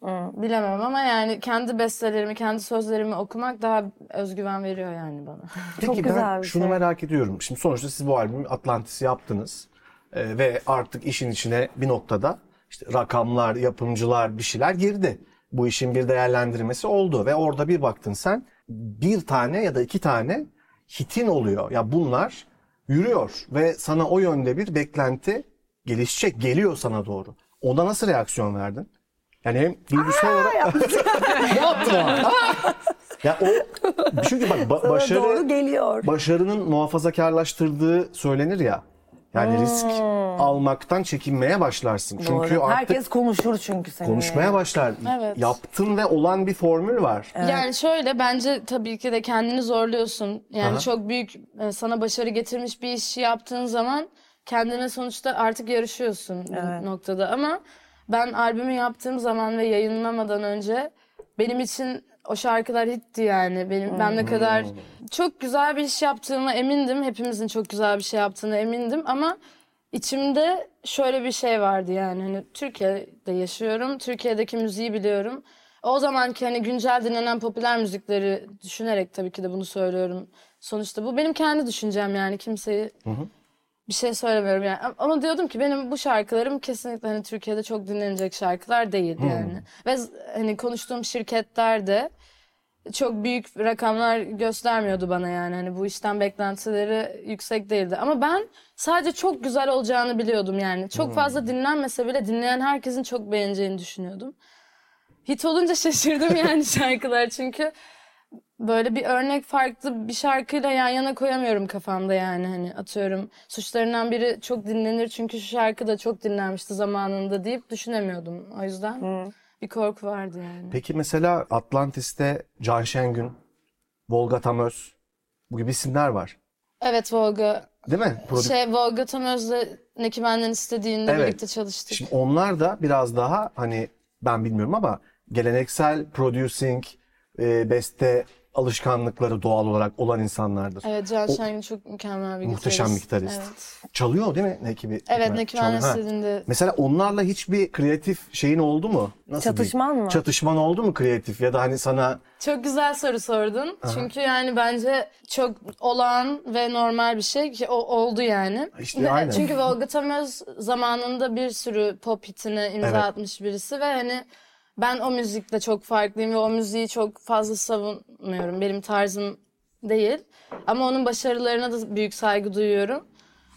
Speaker 4: ıı, bilemem ama yani kendi bestelerimi, kendi sözlerimi okumak daha özgüven veriyor yani bana.
Speaker 2: Peki
Speaker 3: Çok
Speaker 2: ben
Speaker 3: güzel bir
Speaker 2: şunu
Speaker 3: şey.
Speaker 2: merak ediyorum. Şimdi sonuçta siz bu albümü Atlantis'i yaptınız. Ee, ve artık işin içine bir noktada işte rakamlar, yapımcılar bir şeyler girdi. Bu işin bir değerlendirmesi oldu ve orada bir baktın sen bir tane ya da iki tane hitin oluyor. Ya bunlar yürüyor ve sana o yönde bir beklenti gelişecek, geliyor sana doğru. Ona nasıl reaksiyon verdin? Yani hem duygusal olarak... [laughs] ne yaptın o
Speaker 3: [laughs]
Speaker 2: an? ya o... Çünkü bak ba- başarı...
Speaker 3: Doğru geliyor.
Speaker 2: Başarının muhafazakarlaştırdığı söylenir ya. Yani risk
Speaker 4: Hmm.
Speaker 2: almaktan çekinmeye başlarsın. Çünkü
Speaker 3: Doğru.
Speaker 2: artık
Speaker 3: Herkes konuşur çünkü seninle.
Speaker 2: konuşmaya başlar.
Speaker 4: Evet.
Speaker 2: Yaptın ve olan bir formül var.
Speaker 4: Yani şöyle bence tabii ki de kendini zorluyorsun. Yani
Speaker 2: Aha.
Speaker 4: çok büyük e, sana başarı getirmiş bir işi yaptığın zaman kendine sonuçta artık yarışıyorsun bu noktada. Ama ben albümü yaptığım zaman ve yayınlamadan önce benim için o şarkılar hitti yani. Benim ben ne kadar çok güzel bir iş yaptığıma emindim. Hepimizin çok güzel bir şey yaptığına emindim ama İçimde şöyle bir şey vardı yani hani Türkiye'de yaşıyorum. Türkiye'deki müziği biliyorum. O zamanki hani güncel dinlenen popüler müzikleri düşünerek tabii ki de bunu söylüyorum. Sonuçta bu benim kendi düşüncem yani kimseyi bir şey söylemiyorum yani. Ama diyordum ki benim bu şarkılarım kesinlikle hani Türkiye'de çok dinlenecek şarkılar değil yani. Ve z- hani konuştuğum şirketler de çok büyük rakamlar göstermiyordu bana yani. Hani bu işten beklentileri yüksek değildi. Ama ben sadece çok güzel olacağını biliyordum yani. Çok fazla dinlenmese bile dinleyen herkesin çok beğeneceğini düşünüyordum. Hit olunca şaşırdım yani [laughs] şarkılar çünkü böyle bir örnek farklı bir şarkıyla yan yana koyamıyorum kafamda yani hani atıyorum suçlarından biri çok dinlenir çünkü şu şarkı da çok dinlenmişti zamanında deyip düşünemiyordum. O yüzden bir korku vardı yani.
Speaker 2: Peki mesela Atlantis'te Can Şengün, Volga Tamöz bu gibi isimler var.
Speaker 4: Evet Volga
Speaker 2: Değil mi? Prodü-
Speaker 4: Şey Volga Tamöz'le Neki Benden istediğinde
Speaker 2: Evet.
Speaker 4: birlikte çalıştık.
Speaker 2: Şimdi onlar da biraz daha hani ben bilmiyorum ama geleneksel producing, e, beste alışkanlıkları doğal olarak olan insanlardır.
Speaker 4: Evet Can
Speaker 2: O-
Speaker 4: Şengün çok mükemmel bir
Speaker 2: Muhteşem
Speaker 4: gitarist.
Speaker 2: gitarist.
Speaker 4: Evet,
Speaker 2: Çalıyor değil mi Neki? bir-
Speaker 4: evet
Speaker 2: bir-
Speaker 4: Neki
Speaker 2: çalıyor.
Speaker 4: Benden
Speaker 2: Ha.
Speaker 4: istediğinde
Speaker 2: Mesela onlarla hiçbir kreatif şeyin oldu mu? Nasıl diyeyim?
Speaker 3: Çatışman mı?
Speaker 2: Çatışman oldu mu kreatif ya da hani sana
Speaker 4: Çok güzel soru sordun. Çünkü yani bence çok olağan ve normal bir şey ki o oldu yani.
Speaker 2: İşte aynen.
Speaker 4: Çünkü Volga Tamöz zamanında bir sürü pop hitine imza
Speaker 2: Evet.
Speaker 4: atmış birisi ve hani ben o müzikle çok farklıyım ve o müziği çok fazla savunmuyorum. Benim tarzım değil. Ama onun başarılarına da büyük saygı duyuyorum.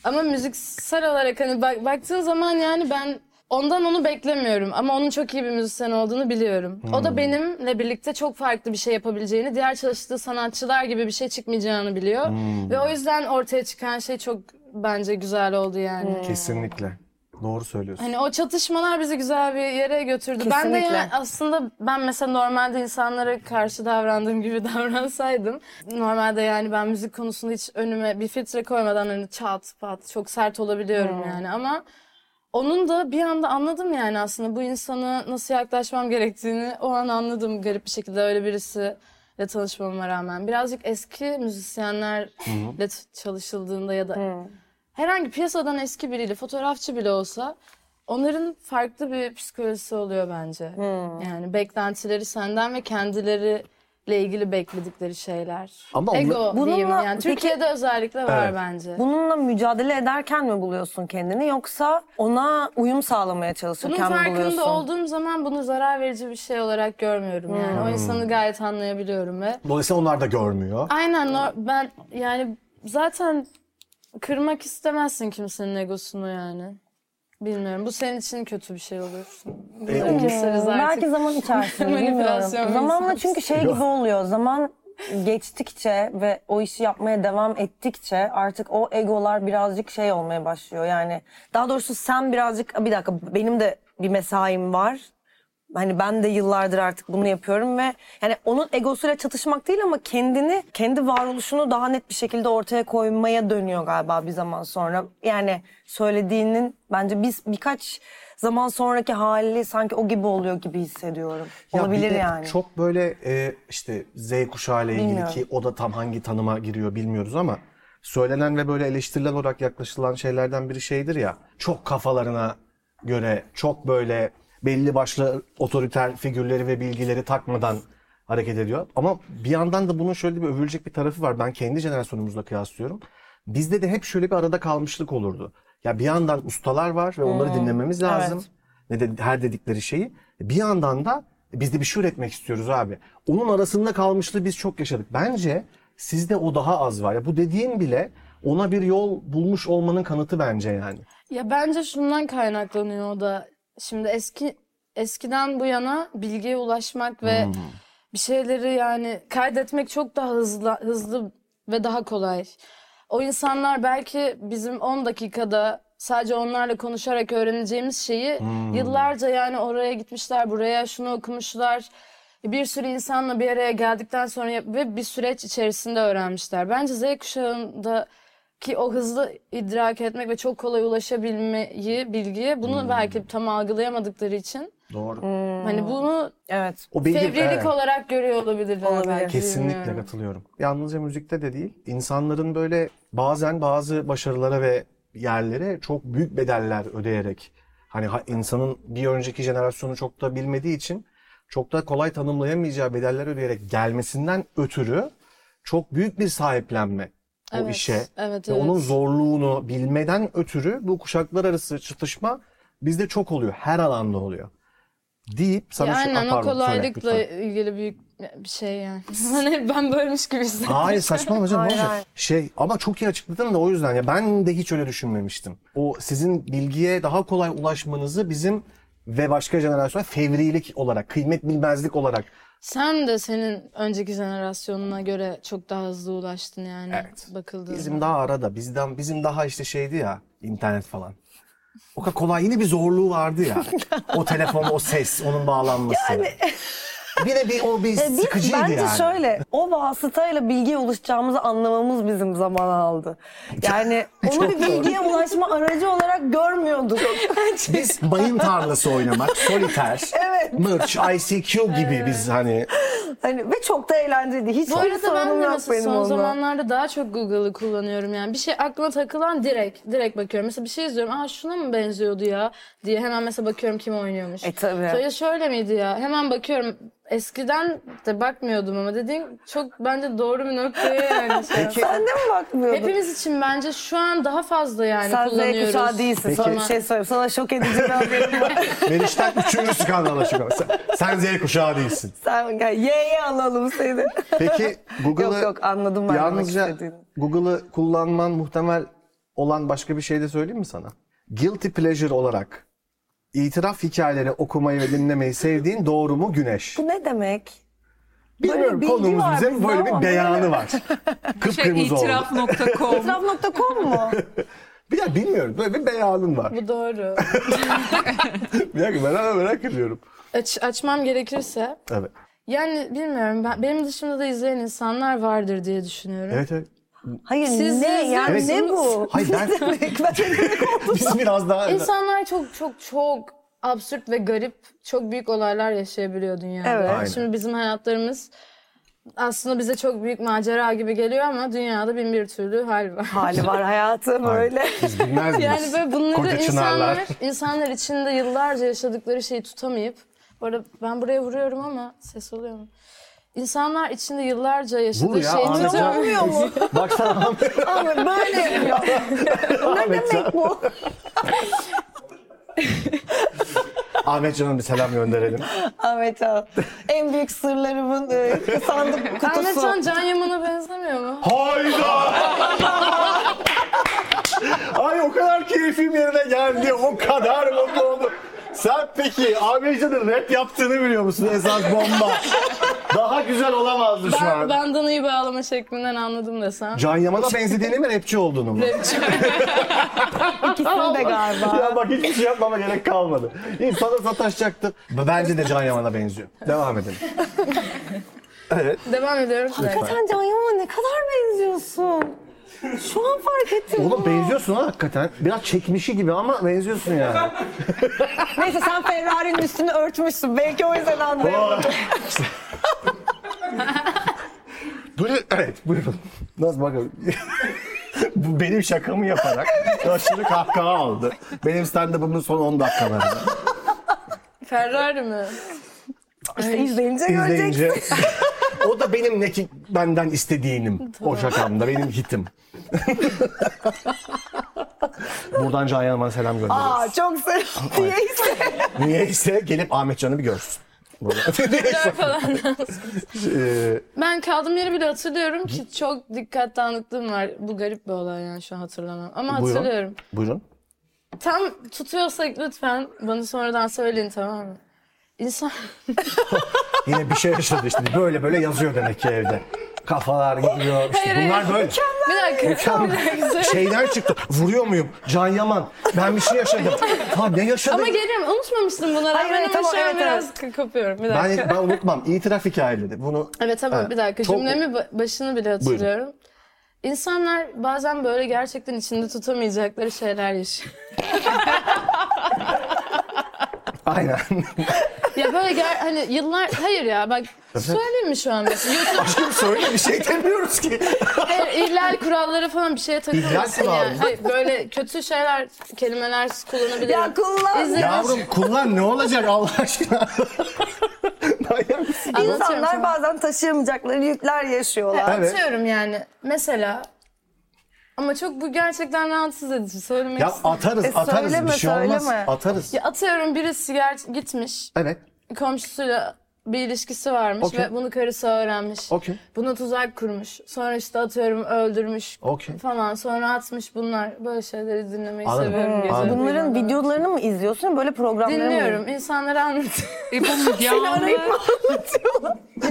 Speaker 4: Ama müziksel olarak hani bak, baktığın zaman yani ben ondan onu beklemiyorum. Ama onun çok iyi bir müzisyen olduğunu biliyorum. O da benimle birlikte çok farklı bir şey yapabileceğini, diğer çalıştığı sanatçılar gibi bir şey çıkmayacağını biliyor. Ve o yüzden ortaya çıkan şey çok bence güzel oldu yani.
Speaker 2: kesinlikle doğru söylüyorsun.
Speaker 4: Ee. Hani o çatışmalar bizi güzel bir yere götürdü. Ben de
Speaker 3: Kesinlikle.
Speaker 4: yani aslında ben mesela normalde insanlara karşı davrandığım gibi [laughs] davransaydım. Normalde yani ben müzik konusunda hiç önüme bir filtre koymadan hani çat pat çok sert olabiliyorum yani ama onun da bir anda anladım yani aslında bu insana nasıl yaklaşmam gerektiğini o an anladım garip bir şekilde öyle birisiyle tanışmama rağmen. Birazcık eski müzisyenlerle t- çalışıldığında ya da herhangi piyasadan eski biriyle fotoğrafçı bile olsa onların farklı bir psikolojisi oluyor bence. Yani beklentileri senden ve kendileriyle ilgili bekledikleri şeyler.
Speaker 2: Ama onlar-
Speaker 4: Ego diyeyim
Speaker 3: Bununla-
Speaker 4: yani.
Speaker 3: peki-
Speaker 4: Türkiye'de özellikle var
Speaker 2: Evet.
Speaker 4: bence.
Speaker 3: Bununla mücadele ederken mi buluyorsun kendini yoksa ona uyum sağlamaya
Speaker 4: Bunun
Speaker 3: çalışırken mi
Speaker 4: farkında
Speaker 3: buluyorsun?
Speaker 4: olduğum zaman bunu zarar verici bir şey olarak görmüyorum yani.
Speaker 3: Hmm.
Speaker 4: O insanı gayet anlayabiliyorum ve
Speaker 2: Dolayısıyla onlar da görmüyor.
Speaker 4: aynen o- ben yani zaten kırmak istemezsin kimsenin egosunu yani. Bilmiyorum. Bu senin için kötü bir şey olur.
Speaker 2: E, o-
Speaker 4: Keseriz artık.
Speaker 3: Ee, Belki
Speaker 4: [laughs]
Speaker 3: zaman içerisinde
Speaker 4: Manipülasyon
Speaker 3: bilmiyorum. Zamanla
Speaker 4: meselesi.
Speaker 3: çünkü şey gibi oluyor. Zaman geçtikçe ve o işi yapmaya devam ettikçe artık o egolar birazcık şey olmaya başlıyor. Yani daha doğrusu sen birazcık bir dakika benim de bir mesaim var. Hani ben de yıllardır artık bunu yapıyorum ve yani onun egosuyla çatışmak değil ama kendini, kendi varoluşunu daha net bir şekilde ortaya koymaya dönüyor galiba bir zaman sonra. Yani söylediğinin bence biz birkaç zaman sonraki hali sanki o gibi oluyor gibi hissediyorum.
Speaker 2: Ya bir
Speaker 3: Olabilir
Speaker 2: de
Speaker 3: yani.
Speaker 2: Çok böyle e, işte Z kuşağı ile ilgili
Speaker 3: Bilmiyorum.
Speaker 2: ki o da tam hangi tanıma giriyor bilmiyoruz ama söylenen ve böyle eleştirilen olarak yaklaşılan şeylerden biri şeydir ya. Çok kafalarına göre çok böyle belli başlı otoriter figürleri ve bilgileri takmadan hareket ediyor. Ama bir yandan da bunun şöyle bir övülecek bir tarafı var. Ben kendi jenerasyonumuzla kıyaslıyorum. Bizde de hep şöyle bir arada kalmışlık olurdu. Ya bir yandan ustalar var ve onları
Speaker 3: Hmm.
Speaker 2: dinlememiz lazım. Ne de her dedikleri şeyi. Bir yandan da biz de bir şey üretmek istiyoruz abi. Onun arasında kalmışlığı biz çok yaşadık. Bence sizde o daha az var. Ya bu dediğin bile ona bir yol bulmuş olmanın kanıtı bence yani.
Speaker 4: Ya bence şundan kaynaklanıyor o da. Şimdi eski eskiden bu yana bilgiye ulaşmak ve bir şeyleri yani kaydetmek çok daha hızlı hızlı ve daha kolay. O insanlar belki bizim 10 dakikada sadece onlarla konuşarak öğreneceğimiz şeyi yıllarca yani oraya gitmişler, buraya şunu okumuşlar. Bir sürü insanla bir araya geldikten sonra yap- ve bir süreç içerisinde öğrenmişler. Bence Z kuşağında ki o hızlı idrak etmek ve çok kolay ulaşabilmeyi bilgiye bunu
Speaker 2: Hmm.
Speaker 4: belki tam algılayamadıkları için
Speaker 2: Doğru.
Speaker 4: hani bunu
Speaker 3: Evet.
Speaker 2: O benim-
Speaker 4: fevrilik
Speaker 2: evet.
Speaker 4: olarak görüyor olabilirler
Speaker 3: Olabilir.
Speaker 4: belki
Speaker 2: Kesinlikle
Speaker 4: bilmiyorum.
Speaker 2: katılıyorum. Yalnızca müzikte de değil. İnsanların böyle bazen bazı başarılara ve yerlere çok büyük bedeller ödeyerek hani ha- insanın bir önceki jenerasyonu çok da bilmediği için çok da kolay tanımlayamayacağı bedeller ödeyerek gelmesinden ötürü çok büyük bir sahiplenme o
Speaker 4: Evet,
Speaker 2: işe
Speaker 4: evet,
Speaker 2: ve
Speaker 4: evet.
Speaker 2: onun zorluğunu bilmeden ötürü bu kuşaklar arası çatışma bizde çok oluyor. Her alanda oluyor. Deyip sana
Speaker 4: Ya
Speaker 2: şu-
Speaker 4: aynen
Speaker 2: Ah,
Speaker 4: o
Speaker 2: pardon, söyle
Speaker 4: kolaylıkla
Speaker 2: lütfen.
Speaker 4: ilgili büyük bir şey yani. [laughs] Hani ben bölmüş gibi hissettim.
Speaker 3: [laughs]
Speaker 2: Hayır saçmalama canım ne
Speaker 3: Hayır,
Speaker 2: olacak?
Speaker 3: hayır.
Speaker 2: Şey ama çok iyi açıkladın da o yüzden ya ben de hiç öyle düşünmemiştim. O sizin bilgiye daha kolay ulaşmanızı bizim ve başka jenerasyonlar fevrilik olarak, kıymet bilmezlik olarak.
Speaker 4: Sen de senin önceki jenerasyonuna göre çok daha hızlı ulaştın yani
Speaker 2: Evet.
Speaker 4: bakıldığında.
Speaker 2: Bizim daha arada, bizden bizim daha işte şeydi ya internet falan. O kadar kolay yine bir zorluğu vardı ya. o telefon, o ses, onun bağlanması. Bir de bir o bir
Speaker 3: E, biz-
Speaker 2: sıkıcıydı
Speaker 3: bence
Speaker 2: yani.
Speaker 3: şöyle o vasıtayla bilgiye ulaşacağımızı anlamamız bizim zaman aldı. Yani
Speaker 2: [laughs]
Speaker 3: onu bir bilgiye ulaşma aracı olarak görmüyorduk.
Speaker 2: Biz mayın tarlası
Speaker 3: [laughs]
Speaker 2: oynamak, soliter, evet. mırç, ICQ gibi biz hani
Speaker 3: hani, ve çok da eğlenceliydi. Hiç
Speaker 4: Bu
Speaker 3: bir
Speaker 4: arada ben
Speaker 3: sorunum
Speaker 4: de
Speaker 3: yok
Speaker 4: mesela
Speaker 3: benim
Speaker 4: son
Speaker 3: onunla.
Speaker 4: zamanlarda daha çok Google'ı kullanıyorum yani. Bir şey aklıma takılan direkt, direkt bakıyorum. Mesela bir şey izliyorum. Aa şuna mı benziyordu ya diye hemen mesela bakıyorum kim oynuyormuş.
Speaker 3: E, tabii.
Speaker 4: Şöyle şöyle miydi ya? Hemen bakıyorum. Eskiden de bakmıyordum ama dediğin çok bence doğru bir noktaya yani. şey.
Speaker 2: Peki-
Speaker 3: Sen de mi bakmıyordun?
Speaker 4: Hepimiz için bence şu an daha fazla yani
Speaker 3: Sen Z
Speaker 4: kullanıyoruz.
Speaker 3: kuşağı değilsin. Sana bir şey söyleyeyim. Sana şok edici bir haberim var.
Speaker 2: Meriç'ten üçüncü skandala çıkıyor. Sen, sen Z kuşağı değilsin.
Speaker 3: [laughs] Sen gel ye ye alalım seni.
Speaker 2: Peki Google'ı
Speaker 3: Yok, yok, anladım ben demek
Speaker 2: yalnızca
Speaker 3: istediğini.
Speaker 2: Google'ı kullanman muhtemel olan başka bir şey de söyleyeyim mi sana? Guilty pleasure olarak itiraf hikayeleri okumayı ve dinlemeyi sevdiğin doğru mu Güneş?
Speaker 3: Bu ne demek?
Speaker 2: Bilmiyorum
Speaker 3: bilgi
Speaker 2: konumuz
Speaker 3: var
Speaker 2: bize
Speaker 3: bizde
Speaker 2: böyle
Speaker 3: ama
Speaker 2: bir
Speaker 3: [laughs]
Speaker 2: beyanı var.
Speaker 5: Şey
Speaker 2: Kıpkırmızı oldu.
Speaker 5: itiraf.com.
Speaker 3: Traf.com
Speaker 4: [laughs]
Speaker 3: mu?
Speaker 2: Bir dakika bilmiyorum böyle bir beyanın var.
Speaker 4: Bu doğru.
Speaker 2: Bir dakika ben hala merak ediyorum.
Speaker 4: Aç, açmam gerekirse.
Speaker 2: Evet.
Speaker 4: Yani bilmiyorum. Ben, benim dışımda da izleyen insanlar vardır diye düşünüyorum.
Speaker 2: Evet evet.
Speaker 3: Hayır
Speaker 4: Siz
Speaker 3: ne
Speaker 4: izler
Speaker 3: yani ne
Speaker 4: misiniz?
Speaker 3: bu?
Speaker 2: Hayır ben
Speaker 3: Demek ben
Speaker 2: [laughs] biz biraz daha
Speaker 4: İnsanlar çok çok çok absürt ve garip, çok büyük olaylar yaşayabiliyor dünyada.
Speaker 3: Evet.
Speaker 2: Aynen.
Speaker 4: Şimdi bizim hayatlarımız aslında bize çok büyük macera gibi geliyor ama dünyada bin bir türlü hal var.
Speaker 3: hali var hayatı böyle.
Speaker 2: biz bilmez miyiz?
Speaker 4: Yani böyle bunları
Speaker 2: Koca çınarlar.
Speaker 4: insanlar, insanlar içinde yıllarca yaşadıkları şeyi tutamayıp, bu arada ben buraya vuruyorum ama ses oluyor mu? İnsanlar içinde yıllarca
Speaker 2: Vur
Speaker 4: yaşadığı
Speaker 2: ya
Speaker 4: şeyi
Speaker 2: Ahmet.
Speaker 4: tutuyor.
Speaker 3: Olmuyor mu?
Speaker 2: Baksana
Speaker 3: Ama böyle yapıyor.
Speaker 2: [laughs]
Speaker 3: ne
Speaker 2: Ahmet sen-
Speaker 3: demek bu?
Speaker 2: Ahmet Can'a bir selam gönderelim.
Speaker 3: Ahmet Can. En büyük sırlarımın e, sandık kutusu.
Speaker 4: Ahmetcan Can Yaman'a benzemiyor mu?
Speaker 2: Hayda! Ay o kadar keyfim yerine geldi. O kadar mutlu oldum. Sen peki Ahmet Can'ın rap yaptığını biliyor musun? Esas bomba. Daha güzel olamazdı şu
Speaker 4: Ben,
Speaker 2: an.
Speaker 4: bandanayı bağlama şeklinden anladım desem.
Speaker 2: Can Yaman'a benzediğini mi rapçi olduğunu mu?
Speaker 3: İkisini de galiba.
Speaker 2: Ya bak hiçbir şey yapmama gerek kalmadı. İnsana sataşacaktı. Bence de Can Yaman'a benziyor. Devam edelim.
Speaker 4: Devam ediyorum.
Speaker 3: Sen Can Yaman'a ne kadar benziyorsun. Şu an fark ettim.
Speaker 2: Oğlum benziyorsun ha hakikaten. Biraz çekmişi gibi ama benziyorsun yani.
Speaker 3: Neyse sen Ferrari'nin üstünü örtmüşsün. Belki o yüzden anlayamadım.
Speaker 2: [laughs] Buyurun, evet buyurun. Nasıl bakalım? [laughs] Bu benim şakamı yaparak aşırı kahkaha aldı. Benim stand-up'ımın son 10 dakikalarında.
Speaker 4: Ferrari mi?
Speaker 3: İşte izleyince göreceksin.
Speaker 2: İzleyince [laughs] o da benim ne ki benden istediğinim. O şakamda benim hitim. [laughs] Buradan Can Yaman'a selam gönderiyoruz.
Speaker 3: Aa çok selam diye izle.
Speaker 2: Niyeyse gelip Ahmet Can'ı
Speaker 3: [laughs]
Speaker 2: bir görsün. [laughs] Niyeyse. Ee,
Speaker 4: Ben kaldığım yeri bile hatırlıyorum ki çok dikkat dağınıklığım var. Bu garip bir olay yani şu an hatırlamam. Ama
Speaker 2: Buyurun.
Speaker 4: hatırlıyorum.
Speaker 2: buyurun.
Speaker 4: Tam tutuyorsak lütfen bana sonradan söyleyin tamam mı? İnsan
Speaker 2: Yine bir şey yaşadı işte. Böyle böyle yazıyor demek ki evde. Kafalar gidiyor. İşte
Speaker 4: Hayır,
Speaker 2: bunlar
Speaker 4: hayır.
Speaker 2: böyle.
Speaker 4: bir dakika.
Speaker 2: Mükemmel.
Speaker 4: bir dakika. söyle.
Speaker 2: Şeyden çıktı. Vuruyor muyum? Can Yaman. Ben bir şey yaşadım. Ha ne yaşadım?
Speaker 4: Ama geliyorum unutmamıştım buna rağmen
Speaker 3: Hayır, hayır,
Speaker 4: ama
Speaker 3: tamam,
Speaker 4: şu an
Speaker 3: evet,
Speaker 4: biraz k- kapıyorum bir dakika.
Speaker 2: ben, ben unutmam. İtiraf hikayeleri. Bunu
Speaker 4: Evet tamam
Speaker 2: Evet.
Speaker 4: bir dakika
Speaker 2: Çok-
Speaker 4: cümlemi ba- başını bile hatırlıyorum. İnsanlar bazen böyle gerçekten içinde tutamayacakları şeyler yaşıyor.
Speaker 2: aynen.
Speaker 4: Ya böyle gel, hani yıllar... Hayır ya bak söyleyeyim mi şu an? mesela? YouTube
Speaker 2: Aşkım söyle bir şey demiyoruz ki.
Speaker 4: hayır, ihlal kuralları falan bir şeye takılmasın
Speaker 2: kuralları.
Speaker 4: yani. Hayır, böyle kötü şeyler, kelimeler kullanabilirim.
Speaker 3: Ya kullan.
Speaker 4: İzin-
Speaker 2: Yavrum kullan ne olacak Allah aşkına. Manyak mısın?
Speaker 4: Anlatıyorum
Speaker 3: İnsanlar
Speaker 4: sana.
Speaker 3: bazen taşıyamayacakları yükler yaşıyorlar.
Speaker 2: Evet.
Speaker 4: Atıyorum yani. Mesela ama çok bu gerçekten rahatsız edici söylemek
Speaker 2: ya
Speaker 4: istemiyorum.
Speaker 2: atarız
Speaker 3: E,
Speaker 2: atarız
Speaker 3: söyleme,
Speaker 2: bir şey olmaz.
Speaker 3: söyleme.
Speaker 2: Atarız.
Speaker 4: Ya atıyorum birisi ger- gitmiş
Speaker 2: Evet.
Speaker 4: komşusuyla bir ilişkisi varmış
Speaker 2: Okey.
Speaker 4: ve bunu karısı öğrenmiş.
Speaker 2: Okey.
Speaker 4: Buna tuzak kurmuş. Sonra işte atıyorum öldürmüş
Speaker 2: Okey.
Speaker 4: falan. Sonra atmış bunlar. Böyle şeyleri dinlemeyi
Speaker 2: Anladım.
Speaker 4: seviyorum. gece
Speaker 2: Anladım.
Speaker 3: Bunların
Speaker 4: uyumadan.
Speaker 3: videolarını mı izliyorsun böyle programlarını mı
Speaker 4: Dinliyorum. İnsanlara anlatıyorum.
Speaker 5: E bu Müge Anlı.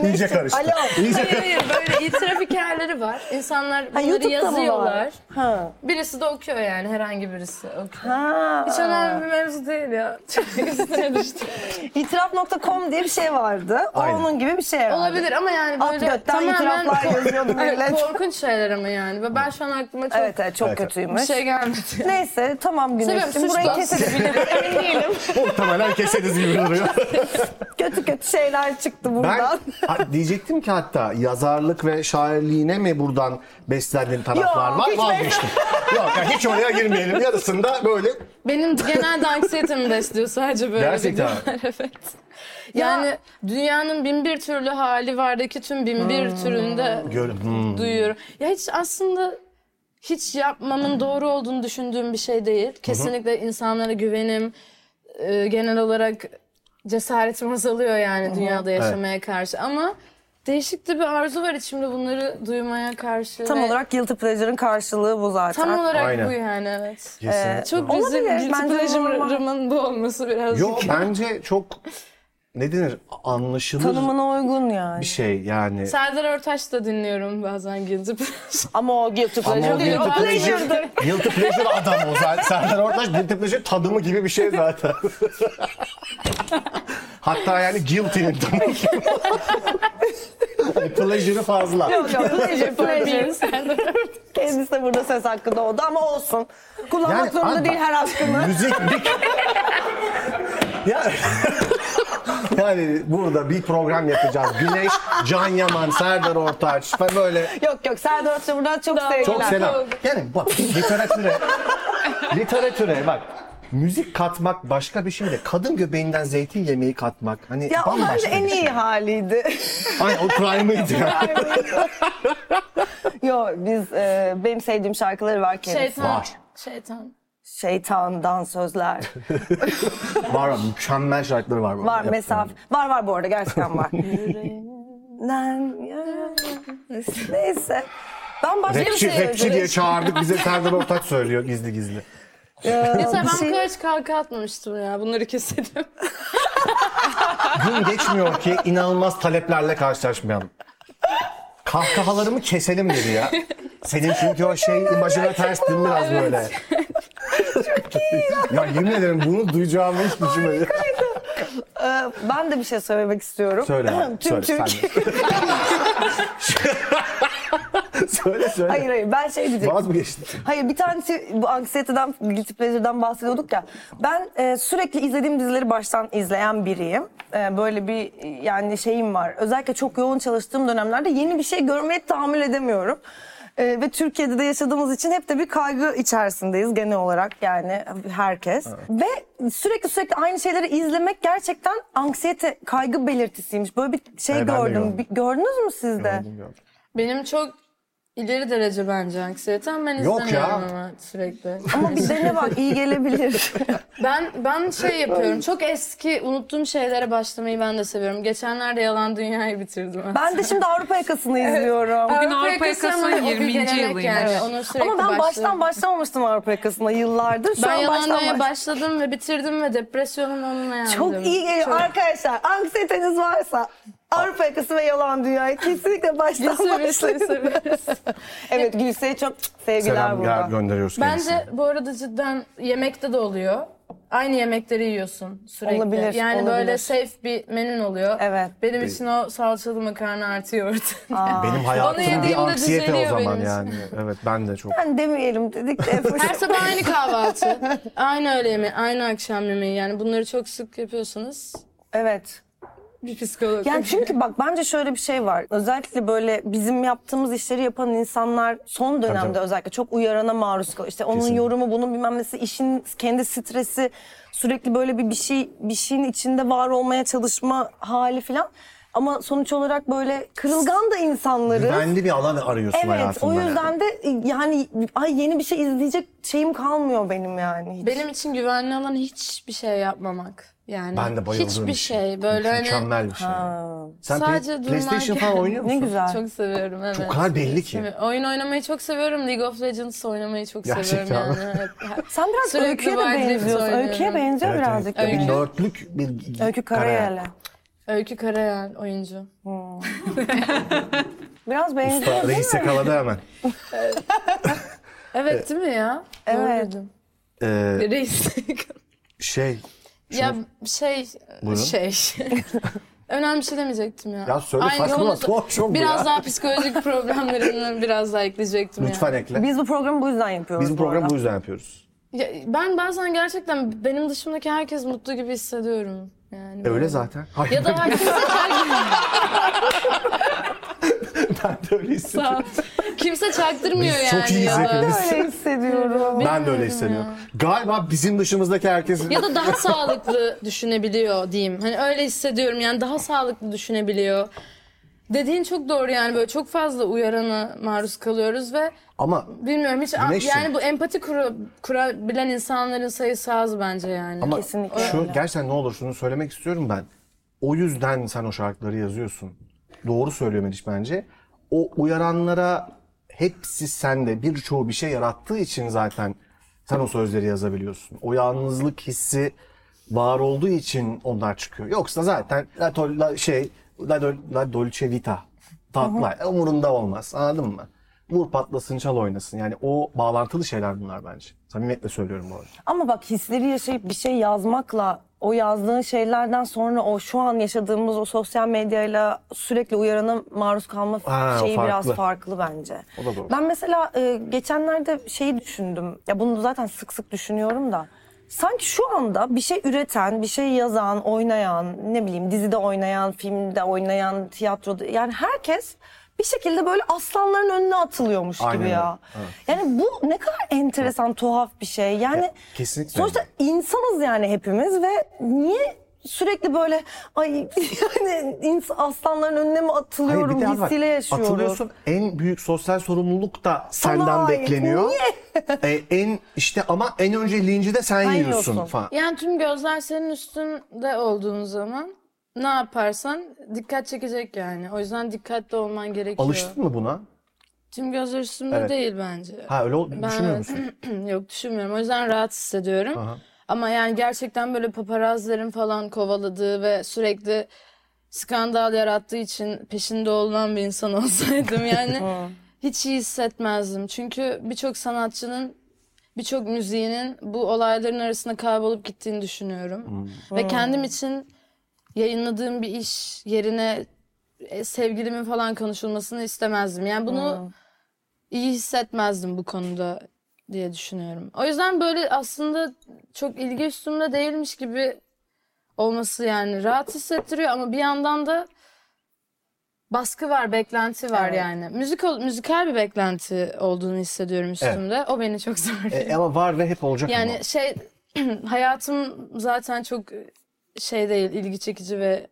Speaker 2: İyice karıştı.
Speaker 3: Alo.
Speaker 2: İyice
Speaker 4: hayır hayır böyle itiraf hikayeleri var. İnsanlar bunları
Speaker 3: YouTube'da mı
Speaker 4: yazıyorlar.
Speaker 3: var? Ha.
Speaker 4: Birisi de okuyor yani herhangi birisi okuyor.
Speaker 3: Ha.
Speaker 4: Hiç önemli bir mevzu değil ya. [laughs] Çok üstüne düştüm.
Speaker 3: İtiraf.com diye bir şey vardı. O
Speaker 2: Aynen.
Speaker 3: onun gibi bir şey herhalde.
Speaker 4: Olabilir ama yani
Speaker 3: At
Speaker 4: böyle
Speaker 3: götten [laughs] itiraflar yazıyordu
Speaker 4: Hayır,
Speaker 3: millet.
Speaker 4: korkunç şeyler ama yani. Ve Ben şu an aklıma çok
Speaker 3: Evet evet çok
Speaker 2: Evet, evet.
Speaker 4: bir
Speaker 3: kötüymüş.
Speaker 4: şey gelmedi.
Speaker 3: Neyse tamam Güneş'cim
Speaker 4: Seviyorum
Speaker 3: burayı [laughs]
Speaker 4: suçlu.
Speaker 3: keselim.
Speaker 4: Emin değilim.
Speaker 2: muhtemelen keseriz gibi duruyor.
Speaker 3: kötü kötü şeyler çıktı
Speaker 2: Ben
Speaker 3: buradan.
Speaker 2: ha, diyecektim ki hatta yazarlık ve şairliğine mi buradan beslendiğin taraflar
Speaker 3: Yok,
Speaker 2: var?
Speaker 3: hiç
Speaker 2: Vazgeçtim. Yok ya hiç oraya girmeyelim. Yarısında böyle
Speaker 4: Benim genelde anksiyetemi besliyor sadece böyle
Speaker 2: Gerçekten.
Speaker 4: videolar, [laughs] evet. Yani dünyanın bin bir türlü hali vardaki tüm bin bir
Speaker 3: Hmm.
Speaker 4: türünde
Speaker 2: görün.
Speaker 3: Ee,
Speaker 2: Hmm.
Speaker 4: duyuyorum. Ya hiç aslında hiç yapmamın doğru olduğunu düşündüğüm bir şey değil. Kesinlikle insanlara güvenim e, genel olarak cesaretim azalıyor yani dünyada yaşamaya karşı ama değişik de bir arzu var içimde bunları duymaya karşı.
Speaker 3: Tam
Speaker 4: ve
Speaker 3: olarak guilty pleasure'ın karşılığı bu zaten.
Speaker 4: tam olarak
Speaker 2: Aynen.
Speaker 4: bu yani evet.
Speaker 2: Kesinlikle.
Speaker 4: Çok
Speaker 3: Olabilir,
Speaker 4: bizim guilty
Speaker 3: bence normal.
Speaker 4: pleasure'ımın bu olması birazcık.
Speaker 2: Yok bence çok ne denir anlaşılır
Speaker 3: Tanımına uygun yani.
Speaker 2: bir şey yani.
Speaker 4: Serdar Ortaç da dinliyorum bazen Şey, guilty
Speaker 2: [laughs]
Speaker 4: pleasure.
Speaker 3: Ama o guilty
Speaker 2: şey- Ama o
Speaker 3: pleasure değil.
Speaker 2: guilty
Speaker 3: O pleasure.
Speaker 2: pleasure, guilty pleasure adam o zaten. Serdar Ortaç guilty pleasure tadımı gibi bir
Speaker 3: [laughs]
Speaker 2: şey zaten. Hatta yani guilty'nin
Speaker 3: [laughs]
Speaker 2: tadımı gibi. [laughs] Hani Pleasure'ı fazla.
Speaker 3: Yok yok pleasure pleasure.
Speaker 4: Serdar
Speaker 3: Kendisi de burada söz hakkı doğdu ama olsun. Kullanmak
Speaker 2: Yani
Speaker 3: zorunda
Speaker 2: abi-
Speaker 3: değil her hakkını.
Speaker 2: Müzik bir... yani, yani burada bir program yapacağız. Güneş, Can Yaman, Serdar Ortaç falan böyle
Speaker 3: yok yok Serdar Ortaç'a buradan çok
Speaker 4: Tamam.
Speaker 3: sevgiler.
Speaker 2: çok selam.
Speaker 4: oldu.
Speaker 2: Yani bak literatüre, literatüre bak. Müzik katmak başka bir şey de kadın göbeğinden zeytin yemeği katmak hani
Speaker 3: Ya o bence
Speaker 2: bambaşka
Speaker 3: en
Speaker 2: bir şey.
Speaker 3: iyi haliydi. [laughs]
Speaker 2: Ay o prime'ıydı ya.
Speaker 3: Yo biz e, benim sevdiğim şarkıları var ki.
Speaker 4: Şeytan.
Speaker 2: Var.
Speaker 4: Şeytan.
Speaker 3: Şeytandan sözler.
Speaker 2: var var, mükemmel şarkıları var. bu arada.
Speaker 3: Var
Speaker 2: Yap-
Speaker 3: mesafe. Var var bu arada gerçekten
Speaker 2: [laughs]
Speaker 3: var. Lan, Neyse. Ben başka bir
Speaker 2: Rapçi,
Speaker 3: şey
Speaker 2: rapçi diye çağırdık bize Serdar Ortaç söylüyor gizli gizli.
Speaker 4: Yeter ben
Speaker 3: şey-
Speaker 4: bu kadar hiç kalka atmamıştım ya. Bunları keselim. [laughs]
Speaker 2: Gün geçmiyor ki inanılmaz taleplerle karşılaşmayalım. Kahkahalarımı keselim dedi ya. Senin çünkü o şey imajına ters değil mi biraz böyle? ya yemin ederim bunu duyacağımı hiç düşünmedim.
Speaker 3: Ee, ben de bir şey söylemek istiyorum.
Speaker 2: Söyle abi,
Speaker 3: Tüm
Speaker 2: söyle,
Speaker 3: Türkiye.
Speaker 2: [laughs] söyle söyle.
Speaker 3: Hayır hayır ben şey diyecektim.
Speaker 2: Vaz mı geçtin?
Speaker 3: Hayır bir tanesi bu anksiyeteden, guilty pleasure'dan bahsediyorduk ya. Ben e, sürekli izlediğim dizileri baştan izleyen biriyim. E, böyle bir e, yani şeyim var. Özellikle çok yoğun çalıştığım dönemlerde yeni bir şey görmeye tahammül edemiyorum. E, ve Türkiye'de de yaşadığımız için hep de bir kaygı içerisindeyiz genel olarak yani herkes. Ve sürekli sürekli aynı şeyleri izlemek gerçekten anksiyete kaygı belirtisiymiş. Böyle bir şey
Speaker 2: Evet, ben de
Speaker 3: gördüm.
Speaker 2: gördüm.
Speaker 3: Bir- Gördünüz mü siz de?
Speaker 4: Benim çok ileri derece bence anksiyetem. Ben
Speaker 2: Yok
Speaker 4: izlemiyorum
Speaker 2: ya.
Speaker 4: ama sürekli.
Speaker 3: [laughs] Ama bir dene bak iyi
Speaker 2: [laughs]
Speaker 3: gelebilir.
Speaker 4: Ben ben şey yapıyorum. Çok eski unuttuğum şeylere başlamayı ben de seviyorum. Geçenlerde Yalan Dünya'yı bitirdim.
Speaker 3: Ben de şimdi Avrupa yakasını izliyorum.
Speaker 5: Bugün Avrupa
Speaker 4: ama
Speaker 5: Yakası'nın
Speaker 4: o bir
Speaker 5: 20.
Speaker 4: gelenek
Speaker 5: yılıymış.
Speaker 4: Yani. Onu sürekli
Speaker 3: Ama ben baştan
Speaker 4: başlıyorum.
Speaker 3: başlamamıştım Avrupa yakasına yıllardır. Şu
Speaker 4: ben
Speaker 3: an
Speaker 4: Yalan
Speaker 3: baştan
Speaker 4: Dünya'ya
Speaker 3: baş-
Speaker 4: başladım ve bitirdim ve depresyonum onunla yandım.
Speaker 3: Çok iyi geliyor. Arkadaşlar anksiyeteniz varsa Avrupa yakası ve yalan dünyayı kesinlikle baştan
Speaker 4: Severiz,
Speaker 3: başlayın.
Speaker 4: severiz.
Speaker 3: Evet Gülse'ye çok sevgiler
Speaker 2: Selam gö-
Speaker 3: buradan.
Speaker 2: gönderiyoruz kendisine.
Speaker 4: Bence bu arada cidden yemekte de oluyor. Aynı yemekleri yiyorsun sürekli.
Speaker 3: Olabilir,
Speaker 4: yani
Speaker 3: olabilir.
Speaker 4: böyle safe bir menün oluyor.
Speaker 3: Evet.
Speaker 4: Benim için o salçalı makarna artıyor.
Speaker 2: Benim hayatım bir
Speaker 4: yediğimde
Speaker 2: anksiyete o
Speaker 4: düzeliyor
Speaker 2: zaman
Speaker 4: benim için.
Speaker 2: yani. Evet ben de çok.
Speaker 3: Ben demeyelim
Speaker 4: [laughs]
Speaker 3: dedik de.
Speaker 4: Her şey- sabah aynı kahvaltı. aynı öğle yemeği, aynı akşam yemeği. Yani bunları çok sık yapıyorsanız
Speaker 3: evet.
Speaker 4: bir psikolog.
Speaker 3: Yani çünkü bak bence şöyle bir şey var. Özellikle böyle bizim yaptığımız işleri yapan insanlar son dönemde
Speaker 2: tabii.
Speaker 3: özellikle çok uyarana maruz kalıyor. İşte onun
Speaker 2: Kesinlikle.
Speaker 3: yorumu, bunun bilmem nesi, işin kendi stresi, sürekli böyle bir bir şey bir şeyin içinde var olmaya çalışma hali falan. Ama sonuç olarak böyle kırılgan da insanları.
Speaker 2: Güvenli bir şey alan arıyorsun
Speaker 3: Evet,
Speaker 2: hayatında.
Speaker 3: o
Speaker 2: yani.
Speaker 3: yüzden de e, yani ay yeni bir şey izleyecek şeyim kalmıyor benim yani. Hiç.
Speaker 4: Benim için güvenli olan hiçbir şey yapmamak. Yani
Speaker 2: Ben de bayıldığım
Speaker 4: hiçbir
Speaker 2: bir
Speaker 4: şey. Böyle hani
Speaker 2: Mükemmel bir şey.
Speaker 3: Ha,
Speaker 2: Sen
Speaker 4: sadece
Speaker 2: Play-
Speaker 4: durmak-
Speaker 2: PlayStation falan oynuyor
Speaker 3: ne
Speaker 2: musun?
Speaker 3: güzel.
Speaker 4: çok seviyorum evet.
Speaker 2: O kadar belli ki.
Speaker 4: Evet, Oyun oynamayı çok seviyorum. League of Legends oynamayı çok seviyorum
Speaker 2: Gerçekten mi?
Speaker 4: yani. Evet.
Speaker 3: Sen biraz
Speaker 4: Sürekli
Speaker 3: öyküye de
Speaker 4: Wild Rift
Speaker 3: benziyorsun.
Speaker 4: oynuyorum.
Speaker 3: Öyküye benziyor
Speaker 2: Evet,
Speaker 3: birazcık.
Speaker 2: evet.
Speaker 3: da.
Speaker 2: Bir nörtlük bir
Speaker 3: Öykü Karayel'e. Hmm.
Speaker 4: Öykü Karayel oyuncu.
Speaker 3: Biraz benziyor
Speaker 2: Usta,
Speaker 3: değil
Speaker 2: reis
Speaker 3: mi?
Speaker 2: yakaladı hemen.
Speaker 4: Evet değil mi ya? Doğru
Speaker 3: Evet.
Speaker 4: dedim.
Speaker 2: Ee,
Speaker 4: Reis. [laughs]
Speaker 2: şey,
Speaker 4: ya şey
Speaker 2: Buyurun.
Speaker 4: şey. [laughs] Önemli bir şey demeyecektim ya.
Speaker 2: ya söyle
Speaker 4: Ay,
Speaker 2: saçma
Speaker 4: yolunu-
Speaker 2: bak. tuhaf bir şey oldu
Speaker 4: Biraz
Speaker 2: ya.
Speaker 4: daha psikolojik problemlerini biraz daha ekleyecektim
Speaker 2: Lütfen ekle.
Speaker 3: Biz bu programı bu yüzden yapıyoruz.
Speaker 2: Biz bu
Speaker 3: arada.
Speaker 2: programı bu yüzden yapıyoruz.
Speaker 4: ya. ya. Ben bazen gerçekten benim dışımdaki herkes mutlu gibi hissediyorum. Yani
Speaker 2: E,
Speaker 4: böyle.
Speaker 2: Öyle zaten. [laughs] Hayır,
Speaker 4: Ya da herkes
Speaker 2: ben de öyle hissediyorum.
Speaker 4: Sağ ol. Kimse çaktırmıyor
Speaker 2: Biz
Speaker 4: yani.
Speaker 2: çok iyiyiz
Speaker 4: ya.
Speaker 2: hepimiz.
Speaker 3: Öyle hissediyorum.
Speaker 2: Ben de öyle hissediyorum. Galiba bizim dışımızdaki herkes...
Speaker 4: Ya da daha sağlıklı düşünebiliyor diyeyim. Hani öyle hissediyorum yani daha sağlıklı düşünebiliyor. Dediğin çok doğru yani böyle çok fazla uyarana maruz kalıyoruz ve
Speaker 2: Ama
Speaker 4: bilmiyorum hiç
Speaker 2: Güneş'im.
Speaker 4: yani bu empati kura- kurabilen insanların sayısı az bence yani.
Speaker 2: Ama
Speaker 3: Kesinlikle
Speaker 2: şu
Speaker 3: öyle.
Speaker 2: gerçekten ne olur şunu söylemek istiyorum ben. O yüzden sen o şarkıları yazıyorsun. Doğru söylüyor Meriç bence. O uyaranlara hepsi sende birçoğu bir şey yarattığı için zaten sen o sözleri yazabiliyorsun. O yalnızlık hissi var olduğu için onlar çıkıyor. Yoksa zaten la, tol- la şey la, dol- la dolce vita tatlar umurunda olmaz anladın mı? Vur patlasın çal oynasın. Yani o bağlantılı şeyler bunlar bence. Samimiyetle söylüyorum bu arada.
Speaker 3: Ama bak hisleri yaşayıp bir şey yazmakla o yazdığın şeylerden sonra o şu an yaşadığımız o sosyal medyayla sürekli uyarana maruz kalma
Speaker 2: Ha, o
Speaker 3: şeyi biraz
Speaker 2: farklı.
Speaker 3: farklı bence.
Speaker 2: O da doğru.
Speaker 3: Ben mesela e, geçenlerde şeyi düşündüm. Ya bunu zaten sık sık düşünüyorum da. Sanki şu anda bir şey üreten, bir şey yazan, oynayan, ne bileyim dizide oynayan, filmde oynayan, tiyatroda yani herkes bir şekilde böyle aslanların önüne atılıyormuş
Speaker 2: Aynen
Speaker 3: gibi
Speaker 2: öyle.
Speaker 3: ya. Yani bu ne kadar enteresan, tuhaf bir şey. Yani
Speaker 2: Ya, kesinlikle.
Speaker 3: Sonuçta insanız yani hepimiz ve niye sürekli böyle ay [laughs] yani ins- aslanların önüne mi
Speaker 2: Hayır, bir
Speaker 3: atılıyorum
Speaker 2: de abi bak,
Speaker 3: hissiyle yaşıyoruz.
Speaker 2: Atılıyorsun en büyük sosyal sorumluluk da
Speaker 3: Sana
Speaker 2: senden
Speaker 3: ait,
Speaker 2: bekleniyor. E, en işte ama en önce linci de sen,
Speaker 3: Sen
Speaker 2: yiyorsun,
Speaker 3: yiyorsun.
Speaker 2: falan.
Speaker 4: Yani tüm gözler senin üstünde olduğun zaman ne yaparsan dikkat çekecek yani. O yüzden dikkatli olman gerekiyor.
Speaker 2: Alıştın mı buna?
Speaker 4: Tüm gözler üstümde
Speaker 2: Evet.
Speaker 4: değil bence.
Speaker 2: Ha öyle ol- düşünmüyor musun?
Speaker 4: [clears throat] Yok düşünmüyorum. O yüzden rahat hissediyorum.
Speaker 2: Aha.
Speaker 4: Ama yani gerçekten böyle paparazların falan kovaladığı ve sürekli skandal yarattığı için peşinde olan bir insan [laughs] olsaydım yani hiç iyi hissetmezdim. Çünkü birçok sanatçının birçok müziğinin bu olayların arasında kaybolup gittiğini düşünüyorum. Ve kendim için yayınladığım bir iş yerine e, sevgilimin falan konuşulmasını istemezdim. Yani bunu iyi hissetmezdim bu konuda diye düşünüyorum. O yüzden böyle aslında çok ilgi üstümde değilmiş gibi olması yani rahat hissettiriyor ama bir yandan da baskı var, beklenti var
Speaker 3: Evet.
Speaker 4: yani. Müzik ol- müzikal bir beklenti olduğunu hissediyorum üstümde. O beni çok zorluyor.
Speaker 2: E, ama var ve hep olacak
Speaker 4: Yani
Speaker 2: ama.
Speaker 4: şey [clears throat] hayatım zaten çok şey değil, ilgi çekici ve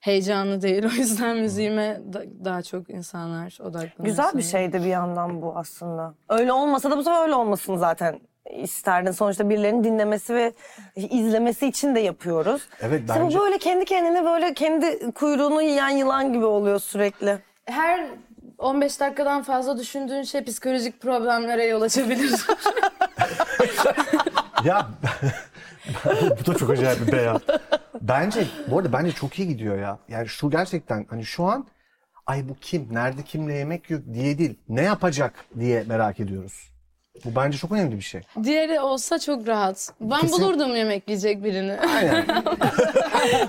Speaker 4: heyecanlı değil. O yüzden müziğime da- daha çok insanlar odaklanıyor.
Speaker 3: Güzel bir
Speaker 4: sanırım.
Speaker 3: şey de bir yandan bu aslında. Öyle olmasa da bu sefer öyle olmasın zaten isterdin. Sonuçta birilerinin dinlemesi ve izlemesi için de yapıyoruz.
Speaker 2: Evet,
Speaker 3: Sen
Speaker 2: bence-
Speaker 3: böyle kendi kendine böyle kendi kuyruğunu yiyen yılan gibi oluyor sürekli.
Speaker 4: her 15 dakikadan fazla düşündüğün şey psikolojik problemlere
Speaker 3: [laughs]
Speaker 4: yol açabilir.
Speaker 2: Ya [laughs] bu da çok acayip bir beyan. Bence bu arada bence çok iyi gidiyor ya. Yani şu gerçekten hani şu an ay bu kim? Nerede kimle yemek yok diye değil. Ne yapacak diye merak ediyoruz. Bu bence çok önemli bir şey.
Speaker 4: Diğeri olsa çok rahat. Ben
Speaker 2: Kesin-
Speaker 4: bulurdum yemek yiyecek birini. [laughs]
Speaker 2: Aynen.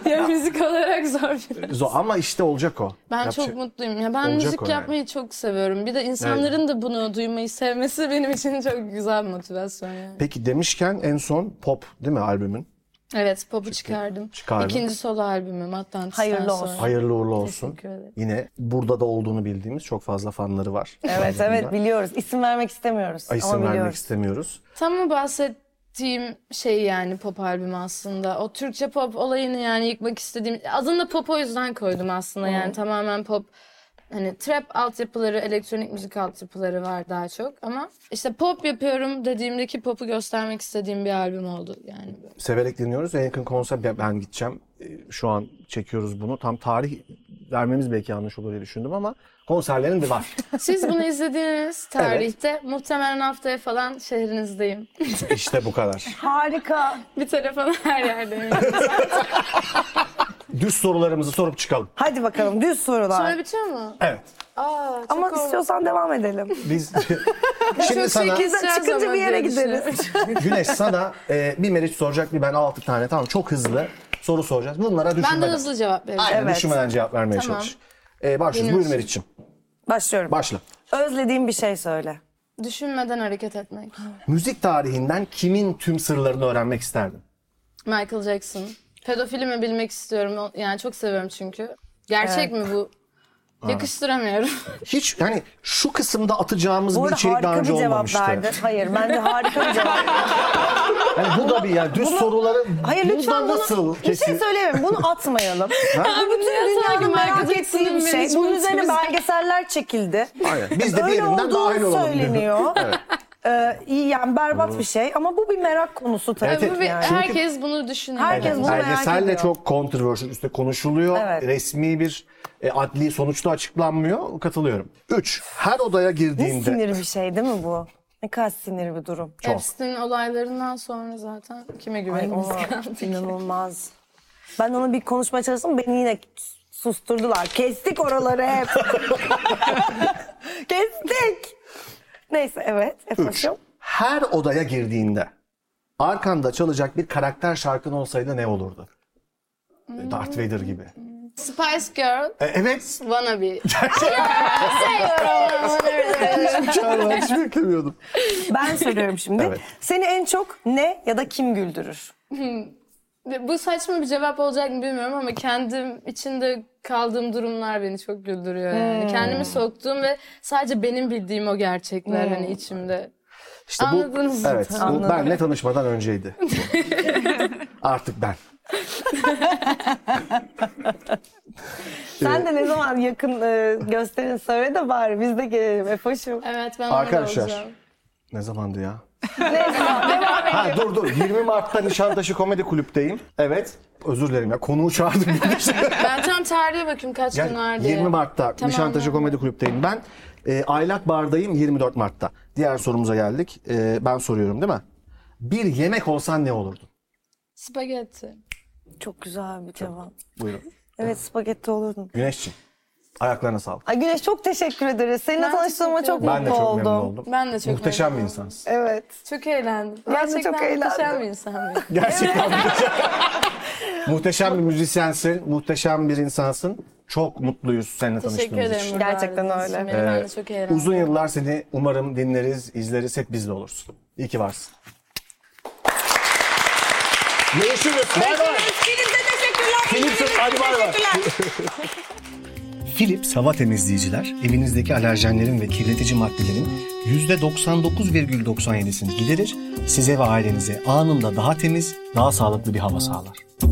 Speaker 4: ya müzik olarak zor bir.
Speaker 2: Zo- Ama işte olacak o.
Speaker 4: Ben
Speaker 2: Yapacak-
Speaker 4: çok mutluyum. Ya ben
Speaker 2: Olacak o
Speaker 4: müzik
Speaker 2: yani.
Speaker 4: yapmayı çok seviyorum. Bir de insanların da bunu duymayı [laughs] sevmesi benim için çok güzel bir motivasyon yani.
Speaker 2: Peki demişken en son Pop değil mi albümün?
Speaker 4: Evet popu çıkardım.
Speaker 2: Çıkardın.
Speaker 4: İkinci solo albümüm Atlantis'ten
Speaker 3: Hayırlı
Speaker 4: sonra.
Speaker 3: olsun.
Speaker 2: Hayırlı uğurlu olsun.
Speaker 4: Teşekkür ederim.
Speaker 2: Yine burada da olduğunu bildiğimiz çok fazla fanları var.
Speaker 3: Evet evet biliyoruz. İsim vermek istemiyoruz
Speaker 2: Ay, isim
Speaker 3: ama
Speaker 2: vermek
Speaker 3: biliyoruz.
Speaker 2: istemiyoruz.
Speaker 4: Tam mı bahsettiğim şey yani pop albümü aslında. O Türkçe pop olayını yani yıkmak istediğim... Adını da pop o yüzden koydum aslında yani tamamen pop. Hani trap altyapıları, elektronik müzik altyapıları var daha çok ama işte pop yapıyorum dediğimdeki popu göstermek istediğim bir albüm oldu yani.
Speaker 2: Severek dinliyoruz. En yakın konser ben- ben gideceğim. Ee, Şu an çekiyoruz bunu. Tam tarih vermemiz belki yanlış olur diye düşündüm ama konserlerin
Speaker 3: [laughs]
Speaker 2: de var.
Speaker 4: Siz bunu izlediğiniz tarihte muhtemelen haftaya falan şehrinizdeyim.
Speaker 2: işte bu kadar.
Speaker 3: Harika.
Speaker 4: [laughs] Bir telefon her yerdeyim.
Speaker 2: Düz sorularımızı sorup çıkalım.
Speaker 3: Hadi bakalım düz sorular.
Speaker 4: [laughs] Sonra bitiyor mu?
Speaker 2: Evet.
Speaker 4: Aa, çok
Speaker 3: ama
Speaker 4: oldu.
Speaker 3: istiyorsan devam edelim.
Speaker 2: Biz
Speaker 4: Çok
Speaker 2: şimdi sana
Speaker 4: şey keseceğiz
Speaker 3: çıkınca bir
Speaker 4: ama
Speaker 3: yere
Speaker 4: diye
Speaker 3: gideriz.
Speaker 4: düşünüyorum.
Speaker 2: Güneş sana e, bir Meriç soracak bir ben altı tane tamam çok hızlı soru soracağız. Bunlara
Speaker 4: Ben
Speaker 2: düşünmeden.
Speaker 4: de hızlı cevap vereceğim.
Speaker 2: Aynen,
Speaker 3: Evet.
Speaker 2: düşünmeden cevap vermeye
Speaker 4: Tamam.
Speaker 2: çalış. E, başlıyoruz.
Speaker 4: Benim
Speaker 2: Buyur
Speaker 4: olsun.
Speaker 2: Meriç'ciğim.
Speaker 3: Başlıyorum.
Speaker 2: Başla.
Speaker 3: Özlediğin bir şey söyle.
Speaker 4: Düşünmeden hareket etmek.
Speaker 2: Müzik tarihinden kimin tüm sırlarını öğrenmek isterdin?
Speaker 4: Michael Jackson. Pedofili mi bilmek istiyorum. O- Yani çok seviyorum çünkü. Gerçek mi bu? [laughs] Yakıştıramıyorum.
Speaker 2: Hiç yani şu kısımda atacağımız
Speaker 3: Bu
Speaker 2: bir
Speaker 3: arada
Speaker 2: içerik daha
Speaker 3: harika bir
Speaker 2: önce
Speaker 3: cevap
Speaker 2: olmamıştı.
Speaker 3: verdi. Hayır bence harika bir
Speaker 2: [laughs]
Speaker 3: cevap
Speaker 2: Yani bu da bir yani düz soruları
Speaker 3: Hayır
Speaker 2: bu
Speaker 3: lütfen
Speaker 2: da
Speaker 3: bunu
Speaker 2: nasıl
Speaker 3: bir şey
Speaker 2: kesin-
Speaker 3: söyleyemem. Bunu
Speaker 4: [laughs]
Speaker 3: atmayalım. Bu bütün
Speaker 4: niye sanki
Speaker 3: dünyanın
Speaker 4: Michael
Speaker 3: merak ettiği
Speaker 4: Jackson'ın
Speaker 3: bir şey. Bunun
Speaker 4: management'ı
Speaker 3: üzerine
Speaker 4: bizim-
Speaker 3: belgeseller çekildi.
Speaker 2: Aynen. Biz de bir
Speaker 3: Öyle
Speaker 2: yerinden dahil
Speaker 3: olduğu
Speaker 2: olalım. diyor.
Speaker 3: söyleniyor. Ee, iyi yani berbat bir şey ama bu bir merak konusu tabii.
Speaker 2: Evet,
Speaker 4: Bu bir-
Speaker 3: yani.
Speaker 4: herkes bunu düşünüyor.
Speaker 3: Herkes bunu merak
Speaker 2: Belgesel de
Speaker 3: ediyor.
Speaker 2: çok controversial üstte konuşuluyor.
Speaker 3: Evet.
Speaker 2: Resmi bir e, adli sonuçta açıklanmıyor. Katılıyorum. 3. Her odaya
Speaker 3: Ne
Speaker 2: girdiğinde
Speaker 3: sinir bir şey değil mi bu? Ne kadar sinir bir durum.
Speaker 2: Çok.
Speaker 4: Epstein olaylarından sonra zaten kime
Speaker 3: Ay,
Speaker 4: güvenimiz
Speaker 3: o
Speaker 4: kaldı ki?
Speaker 3: inanılmaz. Ben onu bir konuşmaya çalıştım. Beni yine susturdular. Kestik oraları
Speaker 2: [laughs]
Speaker 3: hep. Kestik. Neyse evet.
Speaker 2: Üç.
Speaker 3: Efendim.
Speaker 2: Her odaya girdiğinde arkanda çalacak bir karakter şarkın olsaydı ne olurdu? Darth Vader gibi.
Speaker 4: Spice Girl,
Speaker 2: E, evet.
Speaker 4: Wannabe. Seviyorum Wannabe.
Speaker 2: Çağlar şey hiç beklemiyordum.
Speaker 3: [laughs] Ben söylüyorum şimdi.
Speaker 2: Evet.
Speaker 3: Seni en çok ne ya da kim güldürür?
Speaker 4: Bu saçma bir cevap olacak mı bilmiyorum ama kendim içinde kaldığım durumlar beni çok güldürüyor
Speaker 3: Hmm.
Speaker 4: yani. Kendimi soktuğum ve sadece benim bildiğim o gerçekler
Speaker 3: Hmm.
Speaker 4: hani içimde.
Speaker 2: İşte
Speaker 4: Anladınız
Speaker 2: bu,
Speaker 4: mı?
Speaker 2: evet, bu
Speaker 3: Anladım.
Speaker 2: benle tanışmadan önceydi. [laughs] Artık ben.
Speaker 3: Sen de ne zaman yakın e, gösterin söyle de bari biz de gelelim Efoş'um.
Speaker 4: Evet ben
Speaker 2: Arkadaşlar.
Speaker 4: orada olacağım.
Speaker 2: Ne zamandı ya? ha dur dur 20 Mart'ta Nişantaşı Komedi Kulüp'teyim. Evet. Özür dilerim ya konuğu çağırdım.
Speaker 4: Ben tam tarihe bakayım kaç gün var
Speaker 2: Yani
Speaker 4: diye.
Speaker 2: 20 Mart'ta
Speaker 4: Tamam,
Speaker 2: Nişantaşı
Speaker 4: tamam.
Speaker 2: Komedi Kulüp'teyim ben. E, Aylak Bar'dayım 24 Mart'ta. Diğer sorumuza geldik. E, ben soruyorum değil mi? Bir yemek olsan ne olurdu?
Speaker 4: Spagetti.
Speaker 3: Çok güzel bir cevap.
Speaker 2: Buyurun.
Speaker 3: Evet spagetti olurdun.
Speaker 2: Güneşçim. Ayaklarına sağlık.
Speaker 3: Ay Güneş çok teşekkür ederiz. Seninle
Speaker 4: Ben
Speaker 3: tanıştığıma
Speaker 4: teşekkür
Speaker 3: çok
Speaker 4: ederim.
Speaker 3: mutlu
Speaker 2: Ben de çok
Speaker 3: oldum.
Speaker 2: memnun oldum.
Speaker 4: Ben de çok
Speaker 2: Muhteşem bir
Speaker 4: memnunum.
Speaker 2: insansın.
Speaker 3: Evet.
Speaker 4: Çok eğlendim.
Speaker 3: Ben de
Speaker 4: Gerçekten
Speaker 3: çok eğlendim.
Speaker 4: muhteşem bir insan. benim.
Speaker 2: Gerçekten
Speaker 4: [laughs]
Speaker 2: muhteşem. muhteşem bir müzisyensin. Muhteşem bir insansın. Çok mutluyuz seninle
Speaker 4: Teşekkür
Speaker 2: tanıştığımız için.
Speaker 4: ederim.
Speaker 3: Gerçekten
Speaker 4: burada
Speaker 3: öyle.
Speaker 4: aradığınız için. Benim ben de çok eğlendim.
Speaker 2: Uzun yıllar seni umarım dinleriz, izleriz. Hep bizde olursun. İyi ki varsın. Görüşürüz. Bay bay. Philips'e hadi bay bay. [laughs] Philips hava temizleyiciler evinizdeki alerjenlerin ve kirletici maddelerin %99,97'sini giderir, size ve ailenize anında daha temiz, daha sağlıklı bir hava sağlar.